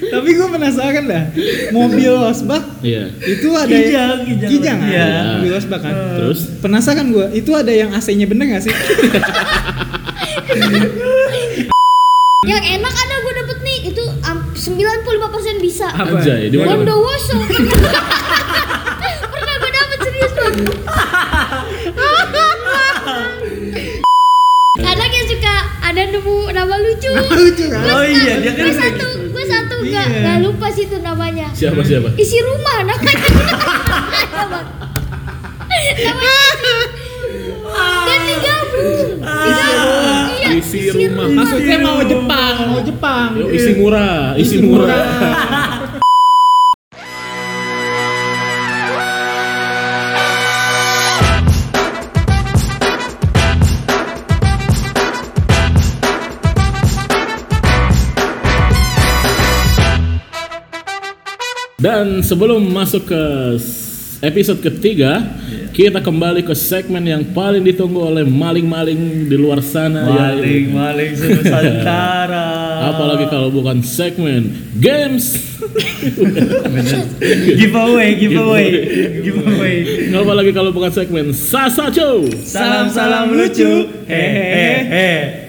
Tapi gue penasaran dah. Mobil Osbak Iya. itu ada Kijang, yang kijang. kijang kan? Iya. Mobil Osbak kan. Eh. Terus? Penasaran gue, itu ada yang AC-nya bener gak sih? Yang enak ada gue dapet nih itu am- 95% bisa. Apa? Anjay, di mana? Bondowoso. Pernah Pernah gue dapet serius Bang. Kadang yang suka ada nemu nama lucu. Lucu kan? Gua Oh suka- iya, dia kan gua suka satu, gitu. gue satu nggak Iya. nggak lupa sih itu namanya. Siapa siapa? Isi rumah namanya. Ada, Bang. Namanya Dan ini gabung. Iya, Isi rumah. Maksudnya mau Jepang, Iya. mau Jepang. Yo, isi murah, isi murah. Dan sebelum masuk ke s- episode ketiga, kita kembali ke segmen yang paling ditunggu oleh maling-maling di luar sana. Maling, yaitu- maling senusantara. Apalagi kalau bukan segmen games. giveaway, giveaway, giveaway. Apalagi kalau bukan segmen Sasaco. Salam salam lucu. Hehehe.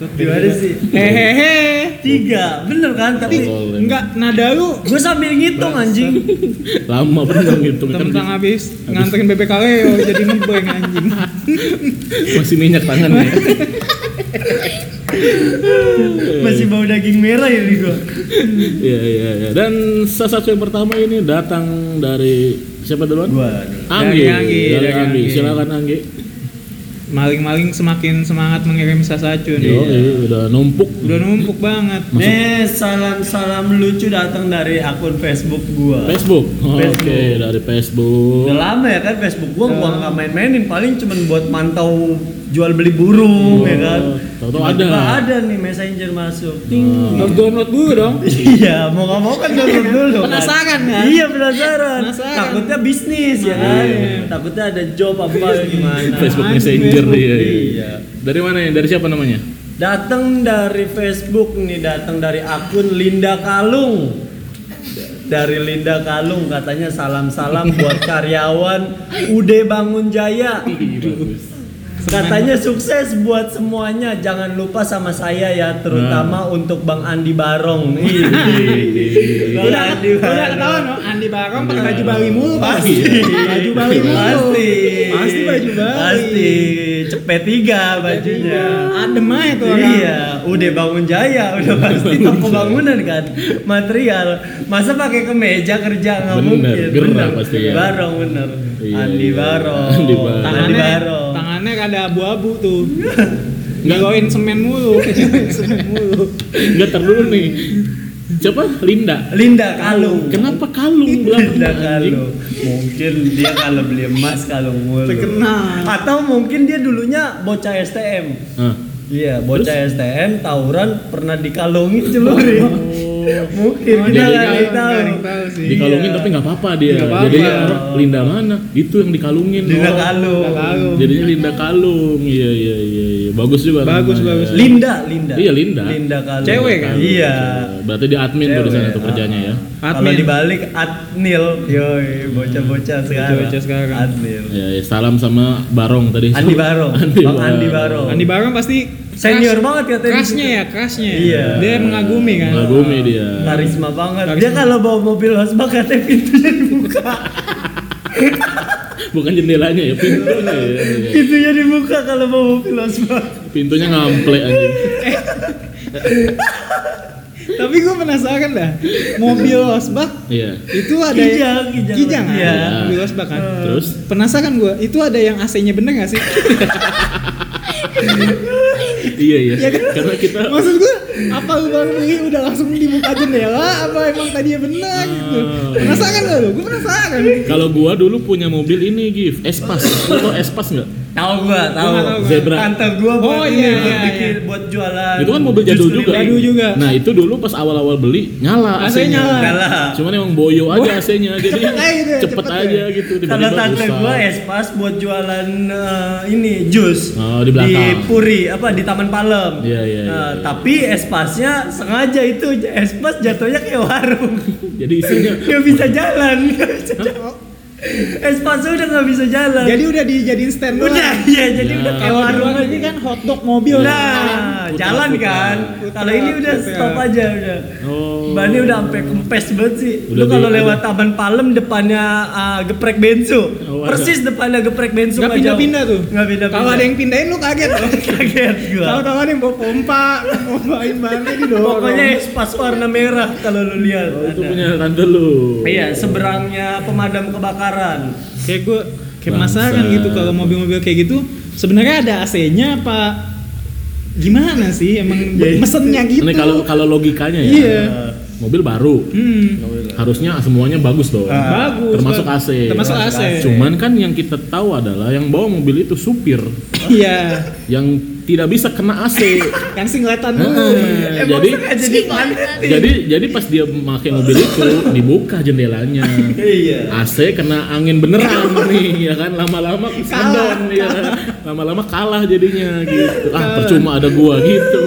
Gimana sih? Hehehe. Tiga, bener kan? Tapi Enggak, nada lu gue sambil ngitung anjing. Lama bener gitu kan tentang habis nganterin bebek kaleo jadi ngebeng anjing. masih minyak tangan ya. Masih bau daging merah ya di gue. Iya iya iya. Dan Sasaco yang pertama ini datang dari siapa duluan? Gue. Anggi. Dari Anggi, Dari dari Anggi. Anggi. Silakan Anggi. Maling-maling semakin semangat mengirim sasacun. Yo, iya, udah numpuk. Udah numpuk banget. Masuk. Nih Eh, salam salam lucu datang dari akun Facebook gue. Facebook. Oh, Oke, Facebook. dari Facebook. Udah lama ya kan Facebook gua gua Iya. Udah. nggak main-mainin paling cuman buat mantau jual beli burung Oh, ya kan. tahu-tahu Tiba-tiba ada. Ada nih messenger masuk. Ting. Ah. Harus download dulu dong. Iya, mau nggak mau kan download dulu. kan? Penasaran, kan? Iya, penasaran. Penasaran. Iya. Takutnya bisnis ya kan. Takutnya ada job apa gimana. Facebook Anjing, Messenger Facebook. iya, iya. Iya. Dari mana ya? Dari siapa namanya? Datang dari Facebook nih, datang dari akun Linda Kalung. Dari Linda Kalung katanya salam-salam buat karyawan UD Bangun Jaya. Katanya sukses buat semuanya. Jangan lupa sama saya ya, terutama untuk Bang Andi Barong. Ih, Bang Udah, Iya, Andi udah Barong. Iya. ketahuan no? Andi Barong pakai baju Bali mulu pasti. Baju Bali mulu. Pasti. Pasti baju Bali. Pasti. Cepet tiga bajunya. Adem aja tuh orang. Iya, udah bangun jaya, udah pasti toko bangunan kan, material. Masa pakai kemeja kerja nggak Bener, mungkin. gerak pasti ya. Barong bener. Iya, Andi iya. Barong. Andi Barong. Andi Tangannya, Barong. tangannya ada abu-abu tuh. Ngiloin semen mulu. semen mulu. Enggak tar dulu nih. Siapa? Linda. Linda Kalung. Kenapa kalung belakang? Linda anjing? Kalung. Mungkin dia kalau beli emas kalung mulu. Terkenal. Atau mungkin dia dulunya bocah STM. Hah. Iya, bocah STM tawuran pernah dikalungin celurit. mungkin Oh, kita jadi nggak ada yang kalung, tahu. nggak ada yang tahu sih. Iya. Dikalungin tapi nggak apa-apa dia. Nggak apa-apa. Jadinya orang, Linda mana? Itu yang dikalungin. Linda oh. Kalung. Nggak tahu. Jadinya Linda kalung. Iya iya iya iya. Bagus juga. Bagus, bagus. Linda, Linda. Iya, Linda. Linda Kalung. Cewek kan? Kalung. Iya. Berarti dia admin tuh di sana Cewek, tuh kerjanya ya. ah. Kalau Admin. dibalik Adnil, yoi, bocah-bocah sekarang. Bocah-bocah sekarang. Adnil. Ya, ya, salam sama Barong tadi. Andi Barong, Andi Bang Andi Barong. Andi Barong pasti Senior banget katanya. Kerasnya ya, kerasnya. Iya. Dia mengagumi kan. Mengagumi dia. Karisma banget. Karisma. Dia kalau bawa mobil hosbak katanya pintunya dibuka. Bukan jendelanya ya, pintunya. ya, ya. pintunya dibuka kalau bawa mobil hosbak. Pintunya ngample anjing. Tapi gue penasaran dah. Mobil Osbak Iya. itu ada Kijang, kijang. kijang kan? Iya. Mobil Osbak kan. Terus Penasaran gue, itu ada yang AC-nya bener gak sih? iya iya. kan? Karena kita Maksud gue, apa lu baru beli udah langsung dibuka jendela? Apa emang tadinya bener gitu? Penasaran gak lu? Gue penasaran. kalau gua dulu punya mobil ini Gif, Espas. Lu tau Espas enggak? Tahu gua, tahu. nggak tahu gua. Zebra. Tante gua buat Oh, ini, iya, buat iya, bikin iya. buat jualan. Itu kan mobil jadul juga. Jadul juga. Nah, itu dulu pas awal-awal beli nyala AC -nya nyala. Kalah. Cuman emang boyo aja AC-nya jadi Cepet aja gitu ya, cepet, cepet ya. aja gitu Kalau tiba-tiba tante rusak. gua ya. espas buat jualan eh, ini jus Oh, di belakang. Puri apa di Taman Palem. Iya, iya, Nah, iya. tapi espas espasnya sengaja itu espas jatuhnya kayak warung Jadi isinya nggak bisa jalan nggak bisa jalan. espasnya udah nggak bisa jalan Jadi udah dijadiin stand doang. udah ya jadi Ya. udah kayak Kayak warung warung ini kan hotdog mobil. Nah, Putar, jalan putar. kan. Putar, Kalau ini udah putar. stop aja udah. Oh. Bannya udah sampai kempes banget sih. Udah Lu kalau di- lewat Taman Palem depannya ah, geprek bensu. Oh, ada. Persis depannya geprek bensu Nggak nggak jauh. pindah-pindah tuh. Nggak pindah-pindah. Kalau ada yang pindahin lu kaget loh. kaget gua. Tahu-tahu ada yang bawa pompa, mau main banget di dorong. Pokoknya espas warna merah kalau lu lihat. Oh, itu Ada. punya tante lu. Iya, seberangnya pemadam kebakaran. kayak gue kayak Bangsa. penasaran gitu kalau mobil-mobil kayak gitu sebenarnya ada AC-nya apa gimana sih emang Ya, itu. mesennya gitu Ini kalau kalau logikanya ya. Iya. Mobil baru. hmm. Harusnya semuanya bagus dong. Ah. bagus Termasuk Pak. AC. termasuk AC Cuman kan yang kita tahu adalah yang bawa mobil itu supir iya yang tidak bisa kena AC. kan singletan dulu Eh, Heeh, Emang jadi sengaja Sih, dipanetin. jadi jadi pas dia pakai mobil itu dibuka jendelanya. Iya. AC kena angin beneran nih ya kan lama-lama kesadon ya kan? lama-lama kalah jadinya gitu ah percuma ada gua gitu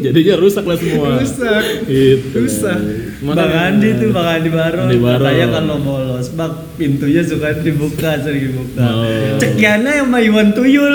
jadinya rusak lah semua rusak gitu ya? Rusak. Bang Andi tuh Bang Andi Baron. Andi Baron. Katanya kalau bolos bak pintunya suka dibuka sering dibuka. Oh. Cekiannya yang Iwan Tuyul.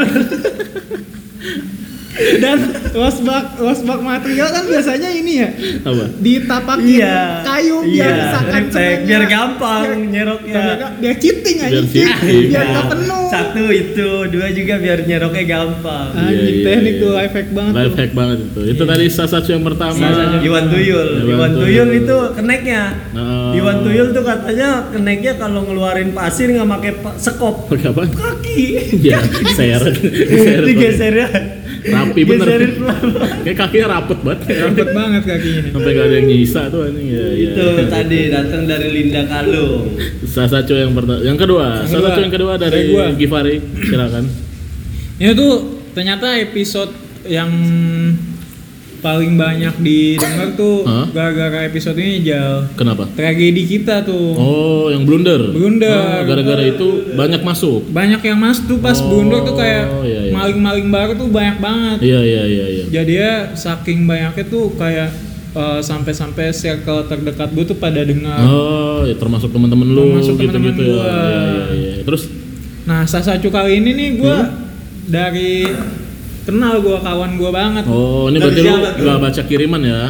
dan losbak losbak material kan biasanya ini ya apa ditapakin iya. kayu biar Iya, misalkan refleks, biar gampang nyeroknya. biar cheating aja Biar cheat, cheating. biar Nah, gak penuh Satu itu, dua juga biar nyeroknya gampang. Ah, Anjing, teknik tuh, life hack banget Iya, life tuh. Iya. hack banget itu itu tadi salah satu yang pertama Sama Iwan Tuyul. Iya. Iwan Iwan Tuyul. Tuyul itu keneknya. Nah. Iwan Tuyul tuh katanya keneknya kalau ngeluarin pasir nggak pakai pa- sekop pakai apa kaki. ya seret seret Digesernya. rapi bener Geserin pelan-pelan. kayak kakinya rapet banget Rambut banget kakinya nih. sampai gak ada yang nyisa tuh anjing ya, ya. itu Gitu. tadi datang dari Linda Kalung. Sasaco yang pertama, yang kedua, Yang Sasaco kedua. yang kedua Dari dari gua. Givari, silakan. Ini tuh ternyata episode yang paling banyak didengar tuh Hah? gara-gara episode ini Jal. Kenapa? Tragedi kita tuh. Oh, yang blunder. Blunder. Oh, gara-gara itu banyak masuk. Banyak yang masuk tuh pas Oh, blunder tuh kayak iya, iya. maling-maling baru tuh banyak banget. Iya iya iya iya. Jadi ya saking banyaknya tuh kayak eh, sampai-sampai circle terdekat gue tuh pada dengar. Oh, ya termasuk teman-teman lu Termasuk teman-teman gitu-gitu ya. gua. Iya iya iya. Terus Nah, Sasacu kali ini nih gue Iya. dari kenal gue kawan gue banget. Oh, ini Dari berarti lu siapa tuh? nggak baca kiriman ya?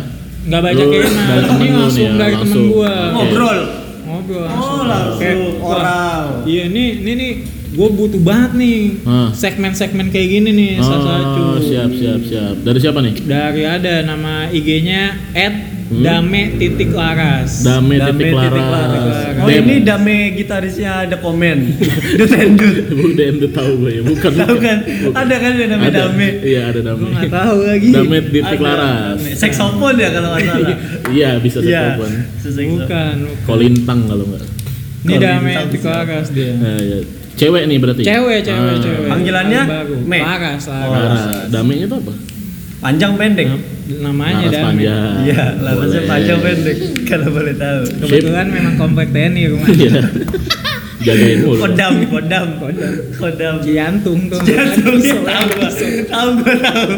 nggak baca Lu kiriman dari temen ini lu nih langsung ya, dari temen langsung. gua Oke. Ngobrol. ngobrol Oh, langsung, langsung. Kayak, wah, Oral. iya nih ini nih gue butuh banget nih Ah. segmen-segmen kayak gini nih Sasacu Oh, siap siap siap. Dari siapa nih? dari ada nama IG-nya at dame titik laras Hmm. Dame, titik Laras. Laras. Oh ini dame gitarisnya ada komen. The Tendut. Bu DM tuh tahu gue ya. Bukan. Tahu bukan. kan? Ada kan ada dame dame. Iya, ada dame. gue nggak tahu lagi Dame titik Laras. Saxophone ya kalau nggak salah. Iya, bisa Iya. telepon. sesaxophone. bukan Kolintang kalau nggak. ini Kalau dame bintang titik siapa? laras dia Nah, ya. Cewek nih berarti. cewek cewek Ah, Oh, cewek Panggilannya Baru. Me. laras laras Laras. Damenya tuh apa? Panjang pendek. Iya. namanya Laras dame panjang. Iya, larasnya Boleh. panjang pendek. Kalau boleh tahu. kebetulan memang komplek TNI rumahnya Iya. Jagain mulu. Kodam, kodam, kodam, kodam. Jantung tuh. Jatuh, iya. tahu gua, tahu gua tahu,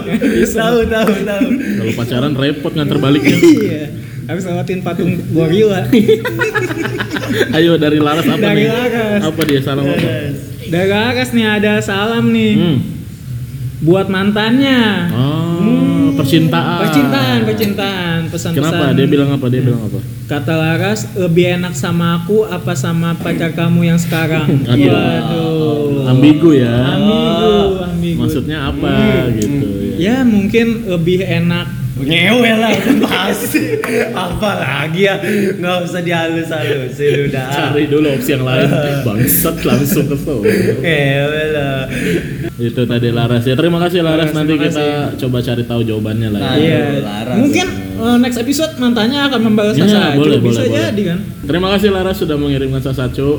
tahu tahu tahu. Kalau pacaran repot nganter baliknya. Iya. Habis lewatin patung gorila. Ayo dari Laras apa Dari nih? Laras. Iya. Apa dia salam apa? Yes. Dari Laras nih ada salam nih Hmm. buat mantannya. Oh, percintaan. Hmm. Percintaan, percintaan, pesan-pesan. Kenapa? Dia bilang apa? Dia bilang apa? Kata Laras lebih enak sama aku apa sama pacar kamu yang sekarang? Aduh. Waduh. Ambigu ya. Oh. Ambigu, ambigu. Maksudnya apa gitu ya. Ya mungkin lebih enak Ngewe lah udah pasti. Apa lagi ya? Nggak usah dihalus-halusin udah. Cari dulu opsi yang lain. Bangsat langsung ke sono. Ngewe lah. Itu tadi Laras ya. Terima kasih Laras. Terima Nanti kasih. kita coba cari tahu jawabannya lah. Nah, Ya. Iya. Laras. Mungkin eh, next episode mantannya akan membalas Iya, Sasacu. boleh, bisa boleh, boleh. jadi kan. Terima kasih Laras sudah mengirimkan Sasacu.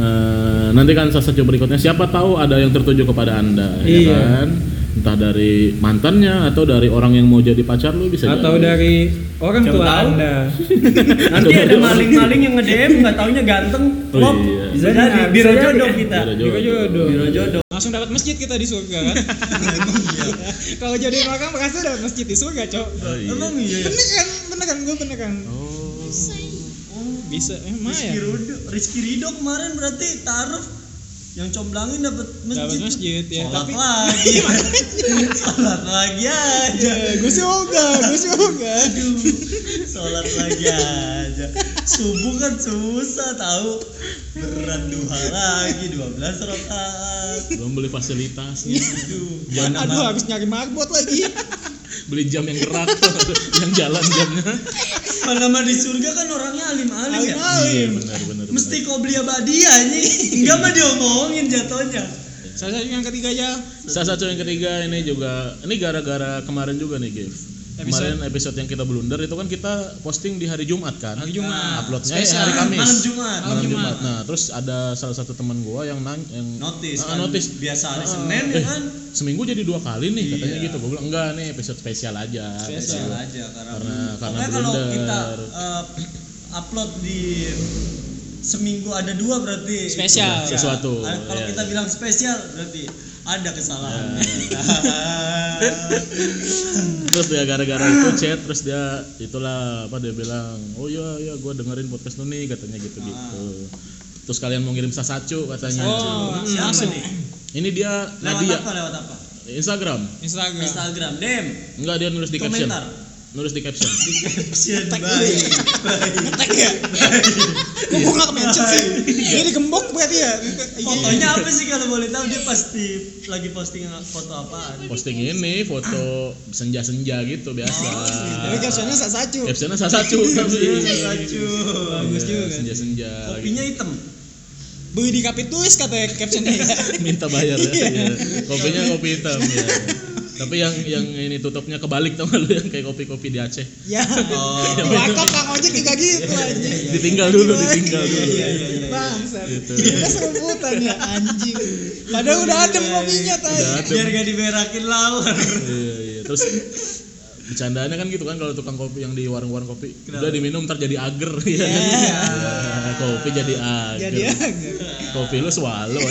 Eh, nanti kan Sasacu berikutnya siapa tahu ada yang tertuju kepada Anda ya Iya. kan? Entah dari mantannya atau dari orang yang mau jadi pacar lu bisa Atau jadi. dari orang Siapa tua tahu? Anda. Nanti ada maling-maling yang nge-DM nggak taunya ganteng. Oh, Klop. iya. Bisa jadi Benar, biro bisa jadi. jodoh kita. Biro jodoh. Biro Iya. jodoh. Biro jodoh. langsung dapat masjid kita di surga kan Iya. kalau jadi orang merasa dapat masjid di surga cok Emang iya. kan? ya? beneran beneran gue beneran bisa emang Rizky ya Rido, Rizky Rido kemarin berarti taruh yang comblangin dapat masjid. dapat masjid ya Sholat tapi lagi. Sholat lagi aja. gue sih ogah gue ya sih ogah Aduh, sholat lagi aja. Subuh kan susah tahu. Berat duha lagi 12 rakaat. belum beli fasilitasnya Aduh, mana Iya, aduh harus nyari marbot lagi beli jam yang gerak yang jalan jamnya mana mana di surga kan orangnya alim-alim ya. iya alim-alim benar benar Mesti kau beli abadi ya, anjing. Enggak mah diomongin jatuhnya. salah satu yang ketiga ya Salah satu yang ketiga ini juga ini gara-gara kemarin juga nih, Giv. Kemarin episode yang kita blunder itu kan kita posting di hari Jumat kan? Hari Jumat. Uploadnya eh, Spesial. hari Kamis. Malam Jumat. Malam Jumat. Nah, terus ada salah satu teman gua yang nanya yang Notis Ah, kan. notice. Biasa hari Ah, Senin ya eh, kan. Seminggu jadi dua kali nih katanya Iya. gitu. Gua bilang enggak nih episode spesial aja. Spesial. Spesial aja karena, Iya, Karena- karena pokoknya kalau blunder. kita eh, upload di seminggu ada dua berarti Spesial. Ya. Sesuatu, Ah, Kalau iya. kita bilang spesial berarti ada kesalahan. Iya. Terus dia gara-gara itu chat terus dia itulah apa dia bilang, "Oh iya iya gua dengerin podcast lu nih," katanya gitu-gitu. Terus kalian mau ngirim sasacu katanya. oh Siapa langsung nih? Ini dia Lewat Nadia apa? Lewat apa? Instagram. Instagram Instagram. Dem. Enggak dia nulis di caption. Komentar. Nulis di caption. Caption Tag baik. ngetek ya kok gue gak mention sih Iya. ini gembok berarti ya Fotonya apa sih kalau boleh tahu dia pasti lagi posting foto apaan? Posting ini foto senja-senja gitu biasa. Oh, tapi captionnya sasacu Captionnya sasacu Iya, tapi Lucu. bagus juga kan senja-senja. gitu. Kopinya hitam. beli di kapit tulis kata captionnya Iya. ya. Minta bayar ya. iya. Kopinya kopi hitam ya. Tapi yang yang ini tutupnya kebalik tau gak lu yang kayak kopi-kopi di Aceh. ya Oh. iya. di wakaf kang ojek juga gitu anjing Ditinggal dulu, iya, ditinggal dulu. Iya, iya, iya. bangsat Gitu. kita serumputan ya anjing padahal udah adem kopinya tadi Udah adem. Biar gak diberakin lawan. Iya, iya. Terus bercandaannya kan gitu kan kalau tukang kopi yang di warung-warung kopi Kenapa? udah diminum ntar jadi ager ya. Ya, kopi jadi ager. jadi ya enggak. Kopi lu swallow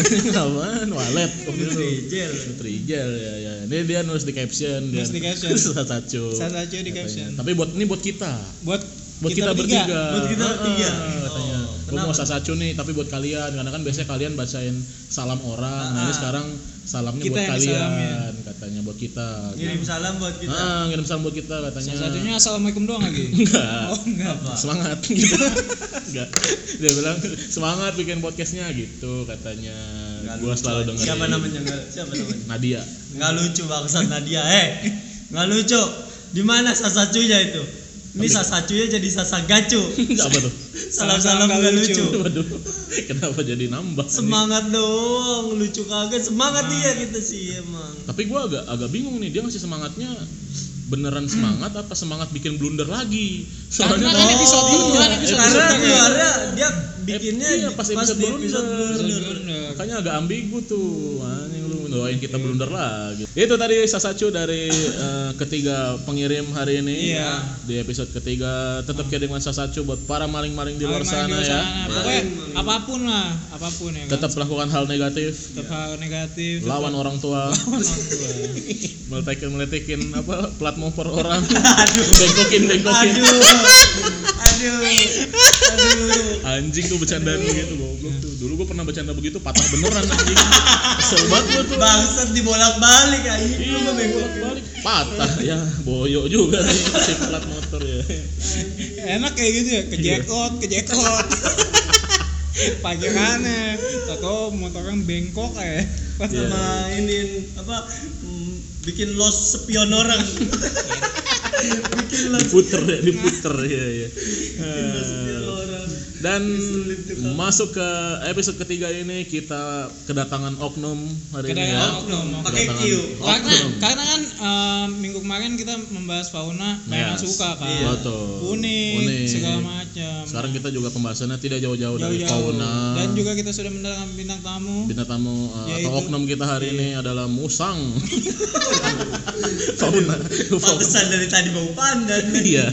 apaan? Walet kopi lu. Trijel. Trijel ya ya. Ini dia nulis di caption dia. Nulis di caption. Sasacu. Sasacu di caption. Tapi buat ini buat kita. buat Buat kita, bertiga. Buat kita bertiga. Ah, katanya. Oh, Gua kenapa? mau sasacu nih tapi buat kalian karena kan biasanya kalian bacain salam orang. Nah, ini Ah. sekarang salamnya Kita buat yang kalian disalamin. katanya buat kita. Ngirim salam buat kita. Ah, ngirim salam buat kita katanya. salah satunya assalamualaikum doang lagi enggak. oh enggak Apa? semangat gitu. enggak. Dia bilang semangat bikin podcastnya gitu katanya. Nggak Gua lucu aja. selalu dengerin. Siapa namanya? Nggak- Siapa namanya? Nadia. Nggak lucu bangsat Nadia. Eh, nggak lucu. Di mana sasacunya itu? Ini sasacunya jadi sasagacu. Apa tuh? Salam-salam nggak lucu. Waduh. Kenapa jadi nambah? nih? Semangat doang, lucu kagak. Semangat dia kita sih emang. Tapi gua agak agak bingung nih dia ngasih semangatnya beneran semangat apa semangat bikin blunder lagi? Soalnya Karena kan episode duluan, episode karena ya. duluan. juara dia bikinnya Iya, pas, pas di episode episode blunder. blunder. Makanya agak ambigu tuh. Anjing lu doain kita blunder lagi. Itu tadi Sasacu dari eh, ketiga pengirim hari ini. Iya. Di episode ketiga tetap kiriman Sasacu buat para maling-maling di luar Maling-maling sana luar ya. sana. gitu, Pokoknya apapun lah, apapun ya. Kan? Tetap lakukan hal negatif, Tetap hal negatif. lawan orang tua, meletekin meletekin apa plat motor orang, bengkokin bengkokin. Aduh. Aduh. Aduh. Anjing tuh bercandaan gitu goblok tuh. Dulu gua pernah bercanda begitu patah beneran anjing. Kesel banget gua tuh. Bangsat dibolak-balik anjing. Lu Iya, mah bego. balik patah ya, boyok juga nih si plat motor ya. Enak kayak gitu ya, ke jackpot, ke jackpot. Pagi mana? Tahu motornya bengkok ya. Pas Iya. Sama ini apa mm, bikin los sepion orang. bikin los Diputer ya, diputer ya ya. los sepion orang. Dan masuk ke episode ketiga ini kita kedatangan oknum hari ini ya. Kedatangan oknum. Pakai Q. Karena Oknum. karena kan eh, minggu kemarin kita membahas fauna yang Yes. suka kan. Iya. Betul. Unik, Unik. segala macam. Sekarang kita juga pembahasannya tidak jauh-jauh dari Jauh-jauh. fauna. Dan juga kita sudah mendatangkan bintang tamu. bintang tamu uh, Ya Yaitu- atau oknum kita hari ini Iya. adalah musang fauna fauna Pantesan dari tadi bau pandan. iya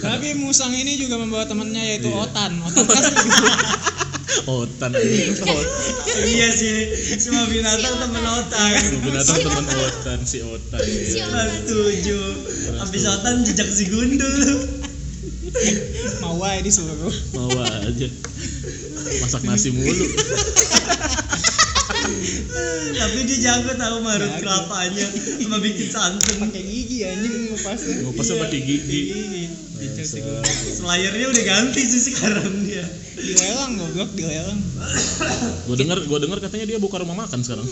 Tapi Musang ini juga membawa temannya yaitu Iya. Otan. Otan kan Otan anjing. iya sih semua binatang Iya. temen otak Binatang teman Otan si Otan. Si Ya. Otan. kelas tujuh habis otan jejak si gundul Mau aja disuruh. Mau aja. Masak nasi mulu. tapi dia jago tahu marut kelapanya sama bikin santan Pakai gigi anjing ngupasnya. Ngupasnya pakai gigi. Dicel sih gue. selayarnya udah ganti sih sekarang dia Dilelang goblok, dilelang. Gue denger, gue denger katanya dia buka rumah makan sekarang.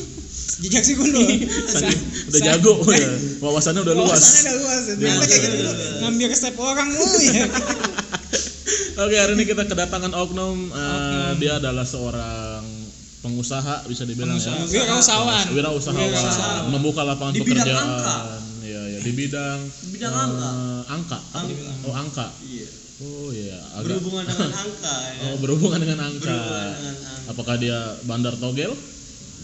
Jejak sih gundul. Saking Iya. udah jago ya. Wawasannya udah luas. Wawasannya udah luas. ya. Ternyata kayak gitu dulu. Ngambil resep orang mulu ya. Oke, hari ini kita kedatangan Oknum. Eh, dia adalah seorang pengusaha bisa dibilang ya. Wirausahawan. Wirausahawan. Wirausahawan. Membuka lapangan Di bidang pekerjaan. angka. Iya, ya, di bidang bidang eh, angka angka. Oh, angka. iya Oh iya, agak berhubungan dengan angka ya Oh, berhubungan dengan angka. Berhubungan dengan angka. Apakah dia bandar togel?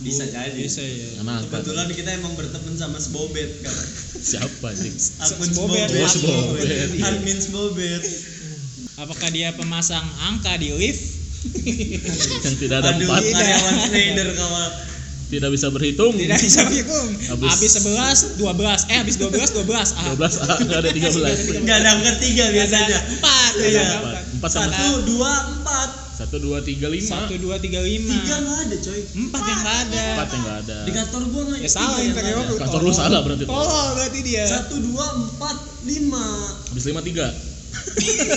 bisa jadi Bisa ya. Dengan angka. kebetulan kita emang berteman sama Sbobet kan Siapa sih? akun Sbobet. Sbobet Oh, Sbobet. admin Sbobet Apakah dia pemasang angka di lift? Yang tidak ada aduh iya. empat, karyawan Schneider kawan tidak bisa berhitung. Tidak bisa dihitung. Habis- Habis 11 12. Eh habis 12 12. Ah. 12 A, nggak ada 13. nggak ada angka tiga biasanya 4. Iya. Empat. Empat sama satu dua empat 1 2 3 5. 1 2 3 tiga 5. nggak ada coy 4 yang nggak ada. 4 yang nggak ada. di kantor gua nggak Ya tiga salah yang interview ada. aku. Kantor lu salah berarti. Oh, tuh. Tolol berarti dia. satu dua empat lima Habis 5 3.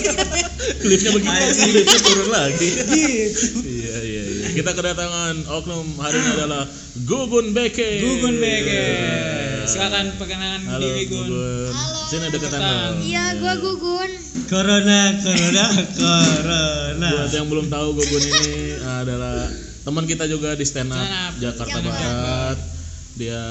Klipnya begitu, klipnya turun lagi. Iya iya iya. Kita kedatangan Oknum hari ini adalah Gugun Beke. Gugun Bege. Silakan perkenalan Halo diri Gun. Gugun. Halo. Sini deketan Deketan. dong. Iya, gua gugun. corona corona corona Buat yang belum tahu Gugun ini adalah teman kita juga di stand up, Stand Up. Jakarta Stand Up. Barat. Dia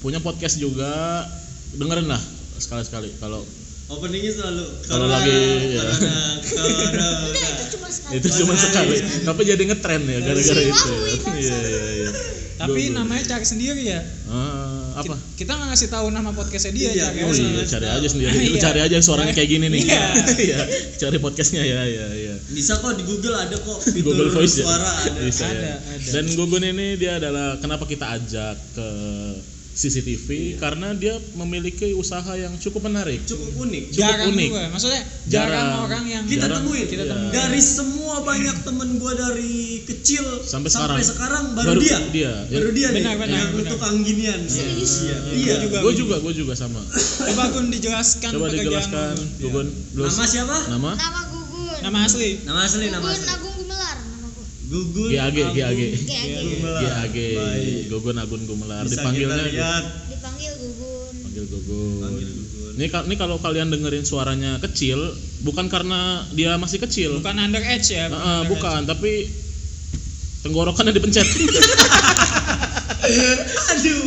punya podcast juga. Dengerin lah sekali-sekali kalau openingnya selalu Kalau lagi, ya. corona corona Enggak, itu cuma sekali. itu cuma sekali. Tapi jadi ngetren ya gara-gara Si itu. Wawi, bangsa. Iya iya iya. Tapi Gugun. namanya cari sendiri ya. Ah, Ki- apa? Kita nggak ngasih tahu nama podcastnya dia. Iya, Cak, ya. Oh iya, cari aja sendiri. Lu Iya. cari aja yang suaranya kayak gini nih. Iya. Iya. Cari podcastnya ya, ya, ya. bisa kok di Google ada kok fitur Google Voice ya? suara ada Bisa Ada, ya. ada. Dan Gugun ini dia adalah kenapa kita ajak ke CCTV Iya. karena dia memiliki usaha yang cukup menarik. cukup unik Cukup jarang unik. juga. Maksudnya jarang, Jarang. orang yang kita Jarang, temuin iya. dari semua banyak temen gua dari kecil Sampai sekarang, baru, dia Ya. baru dia nih Benar, benar, yang benar. tukang ginian iya iya juga. Gue juga, gue juga sama. Coba Gun dijelaskan Coba dijelaskan, Gun. Gugun. Lu- nama siapa Nama? Nama gugun. Nama asli. nama asli nama Gugun asli Agung Gumelar nama gua. Gugun GAG, Agung GAG. Kayak gini. Gumelar. GAG. Baik. Gugun Agun Gumelar. bisa kita Dipanggilnya gitu. Gu- lihat Dipanggil gugun. panggil Gugun. Panggil Gugun. Ini, ka- ini kalau kalian dengerin suaranya kecil, bukan karena dia masih kecil. Bukan under age Nah, eh, Iya. ya. underage. bukan, tapi tenggorokannya dipencet. aduh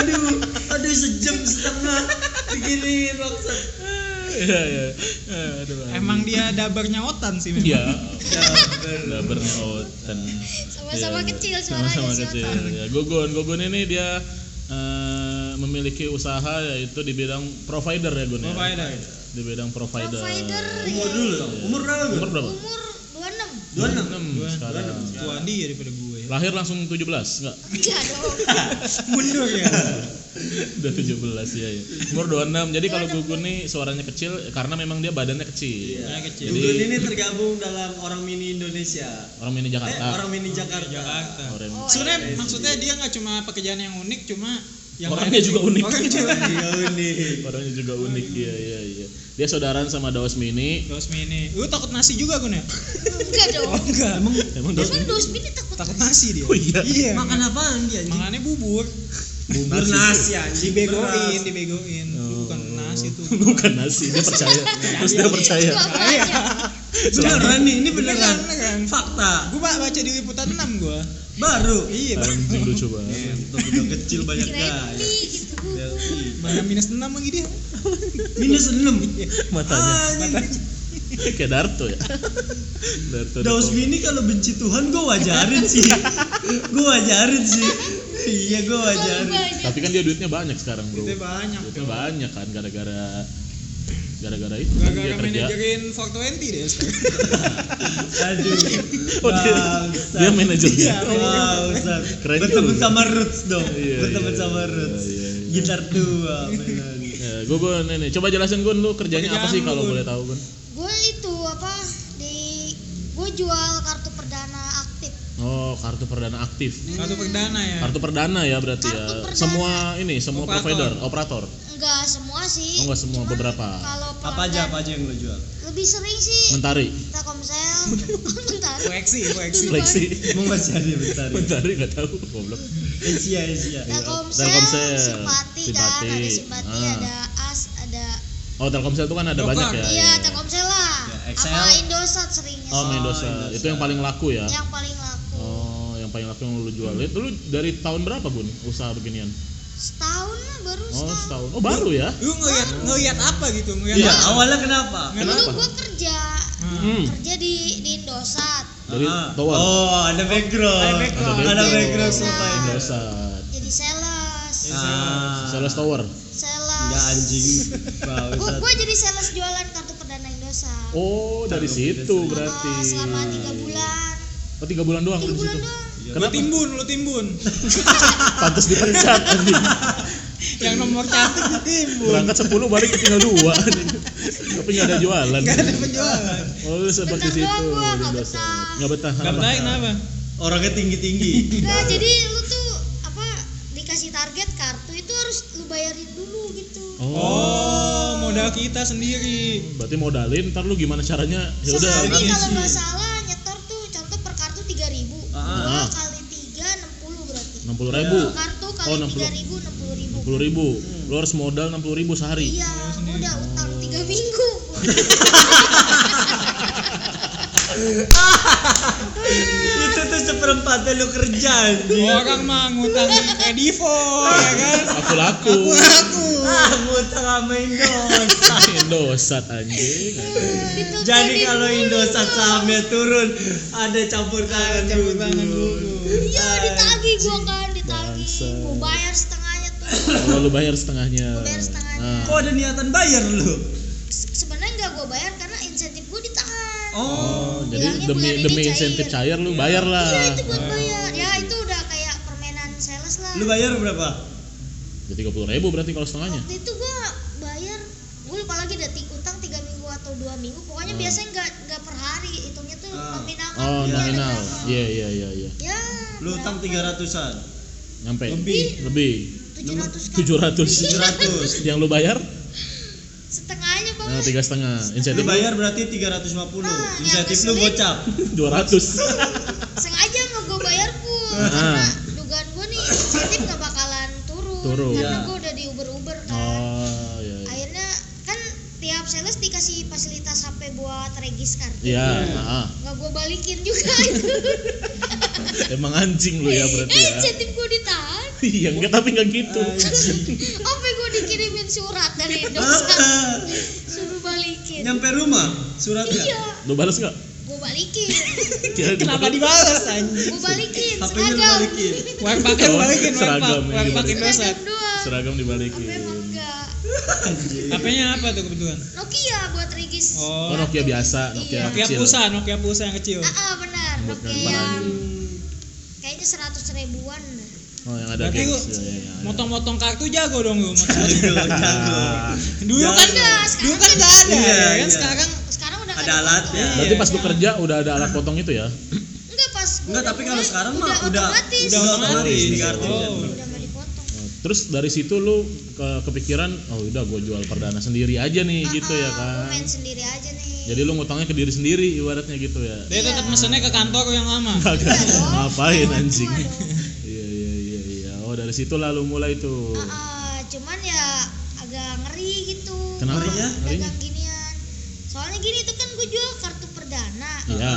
aduh aduh sejam setengah begini maksud Iya, iya. Eh, aduh, Emang dia dabernya otan sih memang. Iya. Dabernya Oten. Sama-sama Iya, kecil suaranya. Sama-sama si kecil. Otan. Ya, Gugun, Gugun ini dia eh, memiliki usaha yaitu di bidang provider ya Gun ya? Provider. Di bidang provider. Provider. umur ya, dulu dong umur berapa Umur Gun? berapa? Umur 26. dua enam 26 sekarang. Tua dia daripada gue. ya. Lahir langsung 17 enggak? Enggak dong. Mundur ya. Udah 17 ya, ya. Umur 26. Jadi kalau Gugun nih suaranya kecil karena memang dia badannya kecil. Nah, kecil. Gugun Iya. ini tergabung dalam orang mini Indonesia Orang mini eh Jakarta. orang mini Jakarta iya, Jakarta. Orang Oh, Sebenarnya maksudnya dia nggak cuma pekerjaan yang unik, cuma yang Orangnya lain- juga unik. Orangnya juga unik. Iya unik Orangnya juga unik iya iya iya. Dia saudaraan sama Daos Mini. Dosmi ini. Lu takut nasi juga Gun ya? Enggak dong. Oh, enggak. Emang Emang Daos Emang dosmi ini takut. takut nasi dia. Oh iya. Iya. makan apaan dia anjing Makannya bubur. bubur nasi anjing Dibegoin, beras. Oh. dibegoin. Lu Bukan nasi tuh. Bukan nasi, dia percaya. Terus dia percaya. Itu apa Iya. aja? beneran nih ini beneran Beneran, beneran. fakta Gua baca di liputan 6 gua. baru Iya, Bang. Anjing lucu banget. Untuk udah kecil banyak Kirain gaya pi gitu Iya, gugun. Mana minus 6 lagi dia. Iya. Ah, minus enam Matanya Anjing. kayak Darto ya. Darto. Daus Dato. Mini kalau benci Tuhan gue wajarin sih Gue wajarin sih Iya gue Terlalu wajarin banyak. Tapi kan dia duitnya banyak sekarang, Bro. Duitnya banyak. Duitnya banyak kan gara-gara gara-gara itu Iya, kan dia Gara-gara kerja manajerin 420 deh sekarang. Aduh. Oh, dia- bangsat. dia manajer Iya. Iya. dia. Bangsat. Keren Berteman juga. Ah, sama Roots dong. Iya, Berteman iya, sama iya, Roots. iya, iya. Gitar tua mainan. Ya, gue gue nih, nih, coba jelasin gue lu kerjanya apa Kerjaan sih lu, kalau Gun. boleh tahu Gun? Gue itu apa di gue jual kartu perdana aktif. Oh kartu perdana aktif. Kartu perdana ya. Kartu perdana ya berarti Kartu ya. perdana. Semua ini semua Operator. provider operator. Enggak semua sih. Oh, nggak semua, Cuman beberapa. Kalau Apa aja apa pelanggan aja yang lo jual? Lebih sering sih Mentari. Telkomsel. Bentar. Koeksi, koeksi. Iya. Flexi. Emang masih ada bentar. ya? Mentari nggak tahu goblok. iya, Asia Asia. Telkomsel, Telkomsel, ya. simpati, kan, Simpati. ada simpati, Ah. ada as, ada Oh Telkomsel itu kan ada Dokar. banyak ya. iya Telkomsel lah, Ya, XL. sama Indosat seringnya Oh sih. Mendoza. Mendoza. Itu yang paling laku ya. yang paling laku. Oh yang paling laku yang lu jual. Itu lu dari tahun berapa Gun usaha beginian? Setahun lah baru Oh setahun. setahun. Oh baru ya? Lu ngeliat ngeliat apa gitu? Ngeliat Iya, apa? awalnya kenapa? Dulu Kenapa? gue kerja Hmm. kerja di di Indosat, Dari Ah. tower. Oh, ada background. Ada background. Ada Jadi background bisa. lupa ini. Mendoza. jadi sales, Ya. Ah. Sales tower. Enggak sales. anjing. Gue Bangsat. gue jadi sales jualan kartu perdana Indosat. Oh dari Tahu, situ biasanya. berarti. Ah, selama tiga bulan, Oh tiga bulan doang tiga lu di bulan situ. doang. Lu Kenapa? timbun, lu timbun. Pantas dipecat anjing. yang nomor cantik ditimbun. Berangkat 10 balik tinggal 2 Tapi nggak ada jualan Gak ada penjualan. Oh lu seperti Betah situ doang gua, di Indosat. nggak betah. Nggak betah Gak kenapa? baik kenapa? Orangnya tinggi-tinggi. Nah, jadi lu tuh apa dikasih target kartu itu harus lu bayarin dulu gitu. Oh Oh, modal kita sendiri. berarti modalin ntar lu gimana caranya ya udah Sehari habis kalau sih. nggak salah nyetor tuh contoh per kartu 3000. Ah. Dua kali 3 60 berarti. 60 ribu Kartu Oh, kali 60. 3000 60.000. 60 ribu Lu harus modal 60 ribu sehari Iya, udah utang 3 minggu. Itu tuh seperempatnya lu kerja anjing. Orang mah ngutang Edivo, ya kan? Aku laku Ah, ngutang sama Indosat. Indosat anjing Ditutup Jadi di kalau bulu Indosat tuh. sahamnya turun, ada campur tangan Campur tangan dulu. Iya, ditagih gua kan, ditagih. Gua bayar setengahnya tuh. Kalau lu bayar setengahnya Gua bayar setengahnya. Nah, Kok ada niatan bayar lu? Se- Sebenarnya nggak gua bayar karena insentif gua ditahan. Oh. Jadi Bilangnya demi bulan ini demi cair. insentif cair lu bayar Iya lah itu Nah. buat bayar. Ya itu udah kayak permainan sales lah. Lu bayar berapa? Jadi 30 Ya, ribu berarti kalau setengahnya Waktu itu gua bayar gue lupa lagi ada ti- utang tiga minggu atau dua minggu pokoknya biasanya nggak nggak per hari hitungnya tuh Hmm. Ah. nominal kan Oh Iya, ada nominal berapa. Iya iya iya iya ya Lu utang 300-an. Nyampe Lebih. Lebih tujuh ratus 700 700. Yang lu bayar? setengahnya bang Nah, tiga setengah. Lu Insentif bayar berarti 350. Insentif lu gocap. dua ratus. sengaja nggak gue bayar pun Ah. karena dugaan gue nih insentif nggak bakalan turun, Turun. karena Iya. gue udah di uber uber kan Oh, iya. iya. akhirnya kan tiap sales dikasih fasilitas hp buat regis kartu Iya, ah. nggak gue balikin juga itu emang anjing lu ya berarti eh ya. insentif gue ditahan Iya, enggak tapi enggak gitu. apa gue dikirimin surat dari Indosat suruh balikin Nyampe rumah suratnya. iya Lu balas enggak? gue balikin Kirain Kenapa balas. dibalas anjing? gue balikin HP-nya lu seragam balikin. Warpakin Oh, balikin, warpak, seragam ya, warpakin dibalikin. dosa. seragam doang Seragam apa dibalikin. emang enggak Apanya apa tuh kebetulan? Nokia buat regis Oh, Oh, Nokia biasa, Nokia Iya. Nokia kecil. Pulsa, Nokia Pulsa yang kecil. ah, ah, benar Buat Nokia gambar yang anjing. kayaknya seratus ribuan Oh, yang ada Berarti lu games. Iya, iya, iya. motong-motong kartu jago dong lu. motong- Jago, jago. Dulu kan Enggak, sekarang dulu kan enggak Iya, ada ya kan iya. sekarang sekarang udah Ada ya. nggak alatnya. foto. Berarti Iya. pas lu kerja udah ada alat potong itu ya? enggak pas gua Enggak, tapi udah kalau mulai, sekarang mah udah otomatis udah udah otomatis. di kartu. Oh. nggak dipotong Oh, Terus dari situ lu ke kepikiran, oh udah gue jual perdana sendiri aja nih Ah, gitu ya Gua kan. Ya main sendiri aja nih Jadi lu ngutangnya ke diri sendiri ibaratnya gitu ya. dia tetap mesennya ke kantor yang lama. Kagak Iya dong. ngapain Cuma anjing. dong. Iya iya iya iya. Oh dari situ lalu mulai tuh. Ah, ah, cuman ya agak ngeri gitu Kenapa? Orang Ngeri ya? dagang ginian soalnya gini tuh kan gue jual kartu perdana Iya.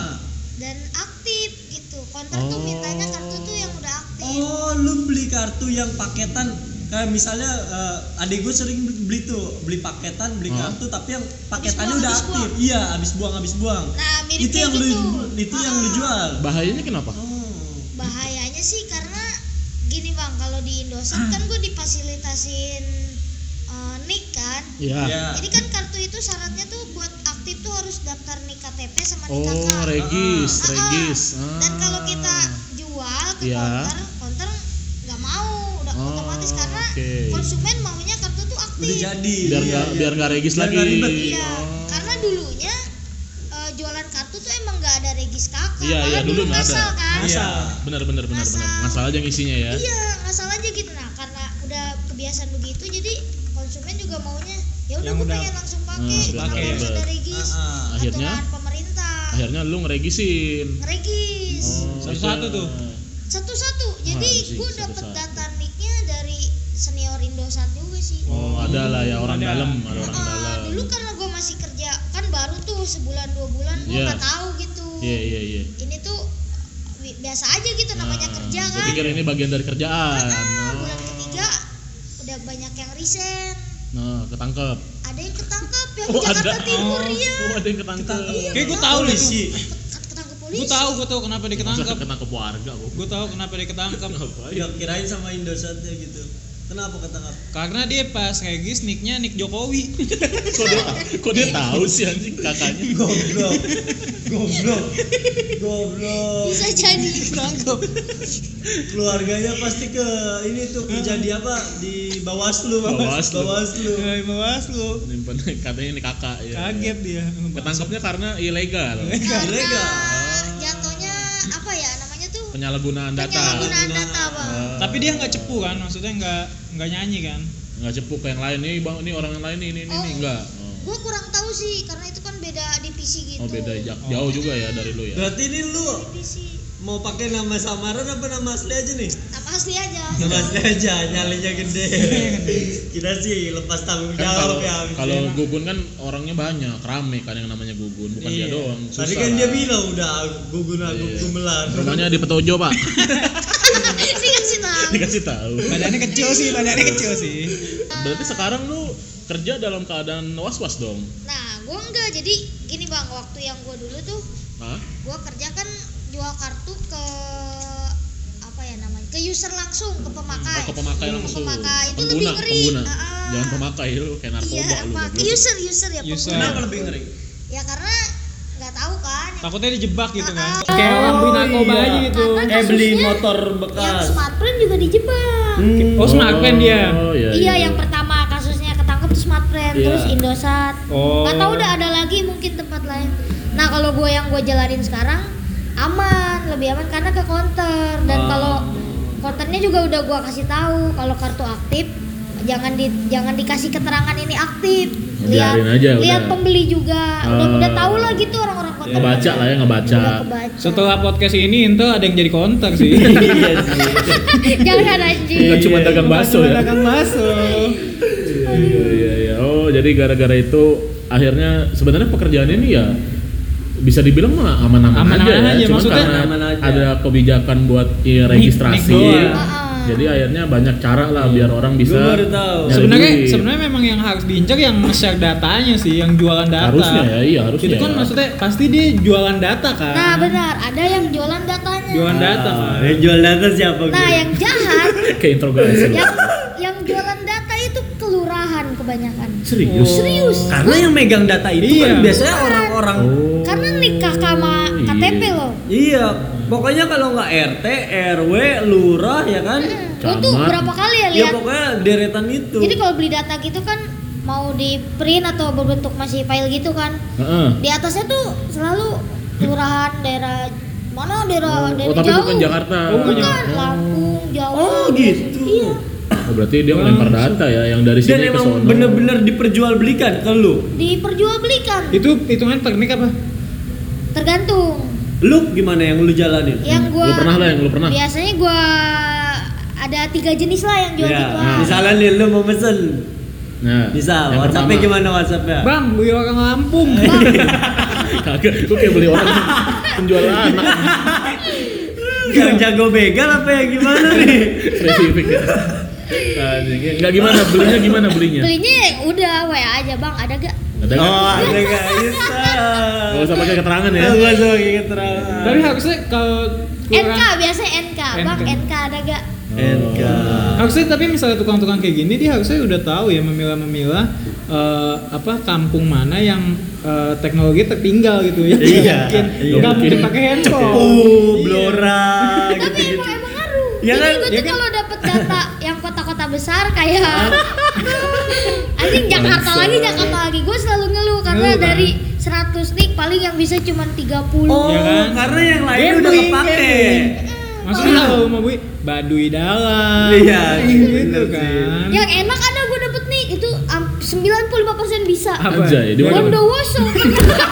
dan aktif gitu konter Oh. tuh mintanya kartu tuh yang udah aktif Oh, lu beli kartu yang paketan kayak misalnya eh, adik gue sering beli tuh beli paketan beli Hah? kartu tapi yang paketannya buang, udah habis aktif iya habis buang habis buang nah mirip itu kayak yang gitu lu itu yang lu Ah. jual Bahayanya kenapa? oh bahayanya sih karena Ah. gini bang kalau di Indosat kan gue difasilitasin eh, nik kan kan Iya. Ya. ini kan kartu itu syaratnya tuh buat aktif tuh harus daftar nih KTP sama nih Oh, kakak regis, Ah, ah. regis. dan Ah. kalau kita jual ke Iya. counter counter nggak mau udah Oh, otomatis karena oke. konsumen maunya kartu tuh aktif udah jadi biar Iya, nggak iya. biar nggak regis Biar lagi. nggak ribet. Iya, Oh. karena dulunya eh, jualan kartu tuh emang nggak ada regis kakak. Iya, iya, Malah dulu nggak ngasal ada. kan? Iya. Benar benar benar benar. Ngasal. Masalah aja ngisinya ya. Iya, ngasal aja gitu. Nah, karena udah kebiasaan begitu, jadi konsumen juga maunya ya udah Yang gue udah- pengen langsung Hmm, pakai, udah kenapa harus ribet. ada regis? Ah, ah. Akhirnya? Aturan pemerintah, Akhirnya lu ngeregisin. ya. regis Oh. Satu-satu tuh. satu-satu. Jadi anjing, gue dapet satu-satu. data nicknya dari senior Indosat juga sih. Oh, ada lah ya orang Ada. dalam, ada orang Ah, dalam. dulu karena gue masih kerja kan baru tuh sebulan dua bulan gue Iya. nggak tahu gitu. Iya iya iya. ini tuh bi- biasa aja gitu namanya Nah, kerja gua kan pikir ini bagian dari kerjaan. Ah, Oh. bulan ketiga udah banyak yang resign Nah, ketangkep. ada yang ketangkap yang di Jakarta Oh, ada. Timur ya Oh, ada yang ketangkep. Kayak gue tahu deh Polisi. tuh. ketangkep polisi Gue tahu, gue tahu kenapa dia Masa ketangkep. ketangkep warga gua. Gue tahu kenapa dia ketangkep. Ngapain? Nggak Iya, kirain sama Indosatnya gitu kenapa ketangkap Karena dia pas regis nicknya nick Jokowi. Kok dia, kok dia tahu sih anjing kakaknya? goblok goblok goblok bisa jadi Ketangkep. keluarganya pasti ke ini tuh kerja di apa di Bawaslu Bawaslu. Bawaslu Dari bawah lu. Nyimpen katanya ini kakak ya. Kaget dia. Ketangkepnya karena ilegal. karena Ilegal. jatuhnya apa ya namanya tuh Penyalahgunaan data. penyalahgunaan data bang Ah. Tapi dia nggak cepu kan, maksudnya nggak nggak nyanyi kan. nggak cepuk yang lain nih bang ini orang yang lain nih ini ini Oh. ini. enggak oh. gue kurang tahu sih karena itu kan beda divisi gitu oh beda jak- jauh juga ya dari lu ya berarti ini lu divisi mau pakai nama samaran apa nama asli aja nih nama asli aja nama asli aja nyalinya gede kita sih lepas tanggung kan kalau jawab ya abis kalau Iya. ini. gugun kan orangnya banyak rame kan yang namanya gugun bukan dia Iya. doang susah tadi kan dia lah. bilang udah gugun aku Iya. gumelar rumahnya di petojo pak dikasih tahu dikasih tahu Iya. Badannya kecil sih, badannya kecil sih. Nah, berarti sekarang lu kerja dalam keadaan was was dong nah gue enggak jadi gini bang waktu yang gue dulu tuh Hah? gua kerja kan jual kartu ke apa ya namanya ke user langsung ke pemakai Oh, ke pemakai Ke langsung pemakai itu pengguna lebih ngeri pengguna Ah, jangan pemakai lu kayak iya narkoba lu apa ke goblok. user user ya User. pengguna kenapa lebih ngeri ya karena nggak tahu kan Ah, Takutnya dijebak Iya gitu kan. Kayak Oh, orang beli iya. narkoba aja gitu. Karena eh beli kasusnya motor yang bekas smartphone juga dijebak Hmm. Oh, smartphone dia. Oh, iya, iya yang pertama kasusnya ketangkep tuh smartphone Iya. terus indosat Oh. nggak tahu udah ada lagi mungkin tempat lain nah kalau gue yang gue jalanin sekarang aman lebih aman karena ke counter dan Ah. kalau counternya juga udah gue kasih tahu kalau kartu aktif jangan di jangan dikasih keterangan ini aktif lihat Biarin aja, lihat udah. pembeli juga udah Ah. udah tahu lah gitu orang-orang counter ngebaca lah ya ngebaca udah kebaca Setelah podcast ini itu ada yang jadi kontak sih. Iya, jangan anjing Nggak kan cuma dagang bakso ya Dagang masuk. Iya iya iya. Oh, jadi gara-gara itu akhirnya sebenarnya pekerjaan ini ya bisa dibilang mah aman-aman Aman-aman aja, ya. aja, Cuma maksudnya karena aman aja. ada kebijakan buat i- registrasi. nik doang. Heeh. Jadi akhirnya banyak cara lah biar orang bisa Gua baru tahu. nyari sebenarnya duit. sebenarnya memang yang harus diincar yang share datanya sih yang jualan data Harusnya ya, iya, Ah. harusnya itu kan ya. maksudnya pasti dia jualan data kan nah benar ada yang jualan datanya jualan data Ah, kan yang jual data siapa nah yang jahat kayak interogasi. yang yang jualan data itu kelurahan kebanyakan Serius. serius karena yang megang data itu Iya. kan biasanya orang-orang Oh. karena nikah sama iya. KTP loh Iya, pokoknya kalau nggak RT, RW, lurah ya kan? Gua tuh Camat. berapa kali ya Ya Iya. lihat pokoknya deretan itu. jadi kalau beli data gitu kan mau di print atau berbentuk masih file gitu kan Heeh. di atasnya tuh selalu kelurahan daerah mana Oh, daerah daerah tapi jauh bukan Jakarta. Oh, bukan bukan Lampung Jawa Oh gitu. iya Oh, berarti dia melempar data ya yang dari Dan sini ke sono. emang bener-bener diperjualbelikan ke lu. diperjualbelikan itu hitungan pernik apa tergantung Lu gimana yang lu jalanin? yang gua Lu pernah lah yang lu pernah. biasanya gua ada tiga jenis lah yang jual Ya, gituan. misalnya nih lu mau pesen, Nah, bisa yang WhatsApp-nya pertama. gimana WhatsApp-nya? bang beli orang Lampung Kagak, gua kayak beli orang penjual anak Yang jago begal apa ya gimana nih? spesifik ya. Anjing, Enggak gimana belinya gimana belinya? belinya ya udah WA aja bang ada gak Ada nggak? Oh, ada nggak bisa. Gak usah pakai keterangan ya. Gak usah inget terang. tapi harusnya kalau NK kelurahan biasanya NK bang NK. NK ada gak Enggak. harusnya tapi misalnya tukang-tukang kayak gini dia harusnya udah tahu ya memilah-memilah eh, eh, apa kampung mana yang eh, teknologi tertinggal gitu ya Nggak Iya, iya. mungkin nggak mungkin pakai handphone Oh, blora Tapi gitu-gitu. emang emang ngaruh. Ya kan? Jadi gue Ya tuh kalau dapet data yang kota-kota besar kayak anjing Jakarta lagi, Jakarta lagi. Gue selalu ngeluh karena Ngeluh, kan? dari 100 nih paling yang bisa cuma 30. Oh, Ya kan? karena yang lain udah Gambling, kepake. gambling. Mm, maksudnya kalau mau gue baduy dalam Iya, gitu bener sih. kan Yang enak ada gue dapet nih itu am- 95% bisa. Apa? Anjay, di mana? Bondowoso. Pernah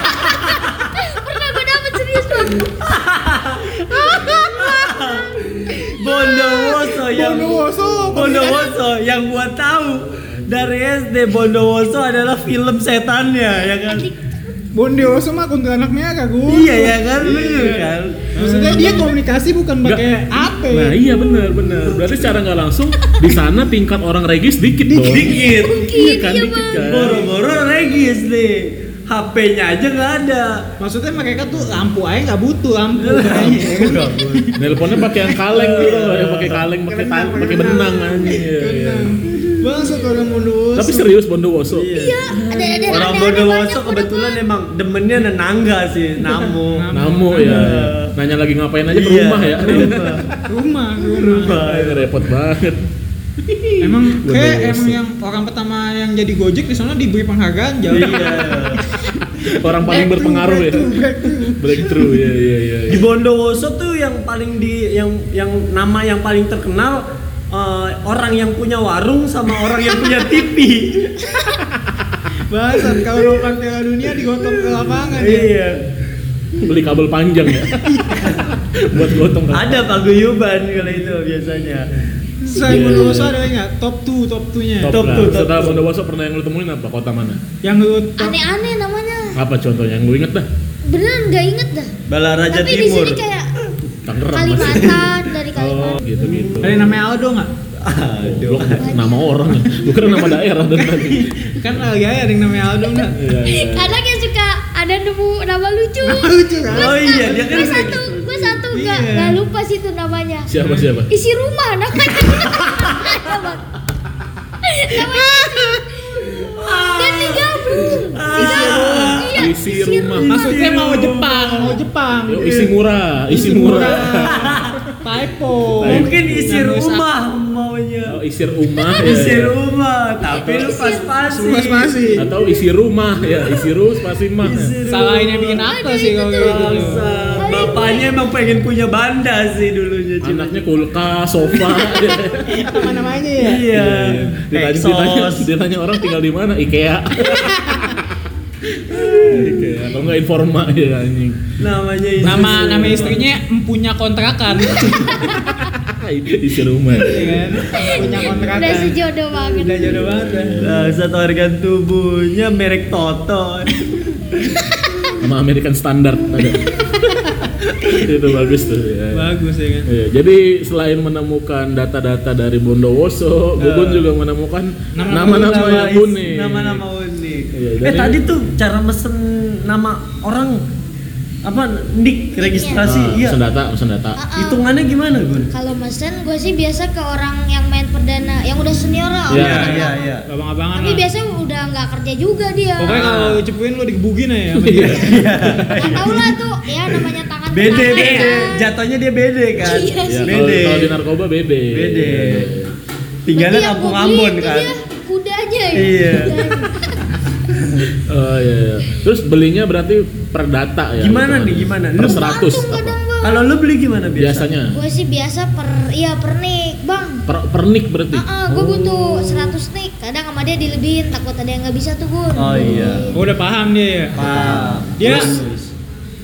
Pernah gue dapet serius banget. Bondowoso yang Bondowoso, Bondowoso yang gua tahu dari SD Bondowoso adalah film setannya ya kan. Bondeoso mah kuntilanak merah gue Iya ya kan, bener kan. maksudnya dia komunikasi bukan Nggak. pakai HP Nah iya benar benar. Berarti secara nggak langsung di sana tingkat orang regis dikit dong. Dikit. Iya kan Iya, dikit kan. Bang. Boro-boro regis nih. HP-nya aja nggak ada. maksudnya mereka tuh lampu aja nggak butuh lampu Iya. kan. Nelponnya pakai yang kaleng gitu, loh, yang pakai kaleng, pakai tan, pakai benang aja. Bangsat orang Bondowoso Tapi serius Bondowoso. Iya, ada ada Orang Bondowoso kebetulan emang demennya nenangga sih, namu. Namu ya. Nanya lagi ngapain aja ke Iya, rumah ya. ke rumah. rumah Iya. rumah Rumah. Aduh, repot banget. Emang kayak Bondowoso. emang yang orang pertama yang jadi Gojek di sana diberi penghargaan jauh. Iya. Orang paling berpengaruh ya. Breakthrough ya ya ya. Di Bondowoso tuh yang paling di yang yang nama yang paling terkenal eh, orang yang punya warung sama orang yang punya TV. Bangsat kalau orang Piala Dunia digotong ke lapangan ya. iya. Beli kabel panjang ya. Buat gotong kan. Ada paguyuban kalau itu biasanya. Iya, Selain Bondowoso ada nggak? Top 2, top 2-nya. Top, Top lah. tuh, top Setelah tuh. Bondowoso pernah yang lu temuin apa? Kota mana? Yang lu top Aneh-aneh namanya. Apa contohnya yang lu inget dah? Beneran nggak inget dah. Balaraja Tapi di Timur. sini kayak Tangerang masih. Kalimantan dari Kalimantan. Gitu gitu. ada yang namanya Aldo nggak? Aduh. Goblok, nama orang ya. Bukan nama daerah dan tadi. Kan lagi aja ada yang namanya Aldo nggak? Iya iya. Kadang ya suka ada nemu nama lucu. Lucu kan? Oh iya, dia kan Gue kayak satu, gue satu nggak Iya. nggak lupa sih itu namanya. Siapa siapa? Isi rumah namanya. Nama- namanya Dan digabung. Ah. Digabung. Iya. Isi rumah. Maksudnya mau Jepang, oh, mau Jepang. Yo, isi murah, isi murah. Typo. Mungkin isi Yang nulis rumah Oh, maunya. isir rumah ya. Isi rumah, tapi lu pas-pasin. Mas masih. atau isi rumah ya isi rumah ya. pasti mah Isi rumah. Salahinnya bikin apa sih kalau gitu? Bangsat. Bapaknya emang pengen punya banda sih dulunya. cuma- anaknya kulkas sofa Apa namanya ya? Iya. ditanya, ditanya, Exos. ditanya orang tinggal di mana Ikea Ikea atau nggak informa ya anjing Namanya istri. Nama nama istrinya kan? empunya kontrakan. isi rumah Iya kan? Punya kontrakan. Udah sejodoh Gitu. banget. Udah jodoh banget. ya. Bangsat organ tubuhnya merek Toto. sama American Standard ada itu bagus tuh ya. Bagus ya kan. Iya, jadi selain menemukan data-data dari Bondowoso, Gugun juga menemukan nama-nama Eh. Nama yang is- unik. Nama-nama unik. Iya, eh dari- tadi tuh cara mesen nama orang apa nick registrasi Ah, iya. pesan data, pesan data. Ah, ah. Hitungannya gimana, Gun? Kalau mesen gue sih biasa ke orang yang main perdana, yang udah senior lah. Iya, orang yang- iya. Abang-abangan Tapi lah. biasanya udah nggak kerja juga dia. Pokoknya kalau lu cepuin lu digebugin aja sama dia. Gak tau lah tuh, ya namanya tangan Bede, tangan, bede. kan. Jatuhnya dia bede kan? Iya Ya, sih. kalau Bede. kalau di narkoba bede. Iya. Bede. Berarti Tinggalnya yang kampung gua beli Ambon itu kan? dia Kudanya ya. Iya. Kudanya. Oh iya, iya. Terus belinya berarti per data ya. Gimana hitungannya? nih, gimana? Per Lu 100 Langsung apa? kadang gua. Kalau lu beli gimana biasa? Biasanya. Gue sih biasa per iya per nick, Bang. Per, per nick berarti. Heeh, gue butuh 100 nick. Kadang sama dia dilebihin, takut ada yang nggak bisa tuh, Gun. Oh, iya. Oh, udah paham dia ya. Pak. Iya. Dia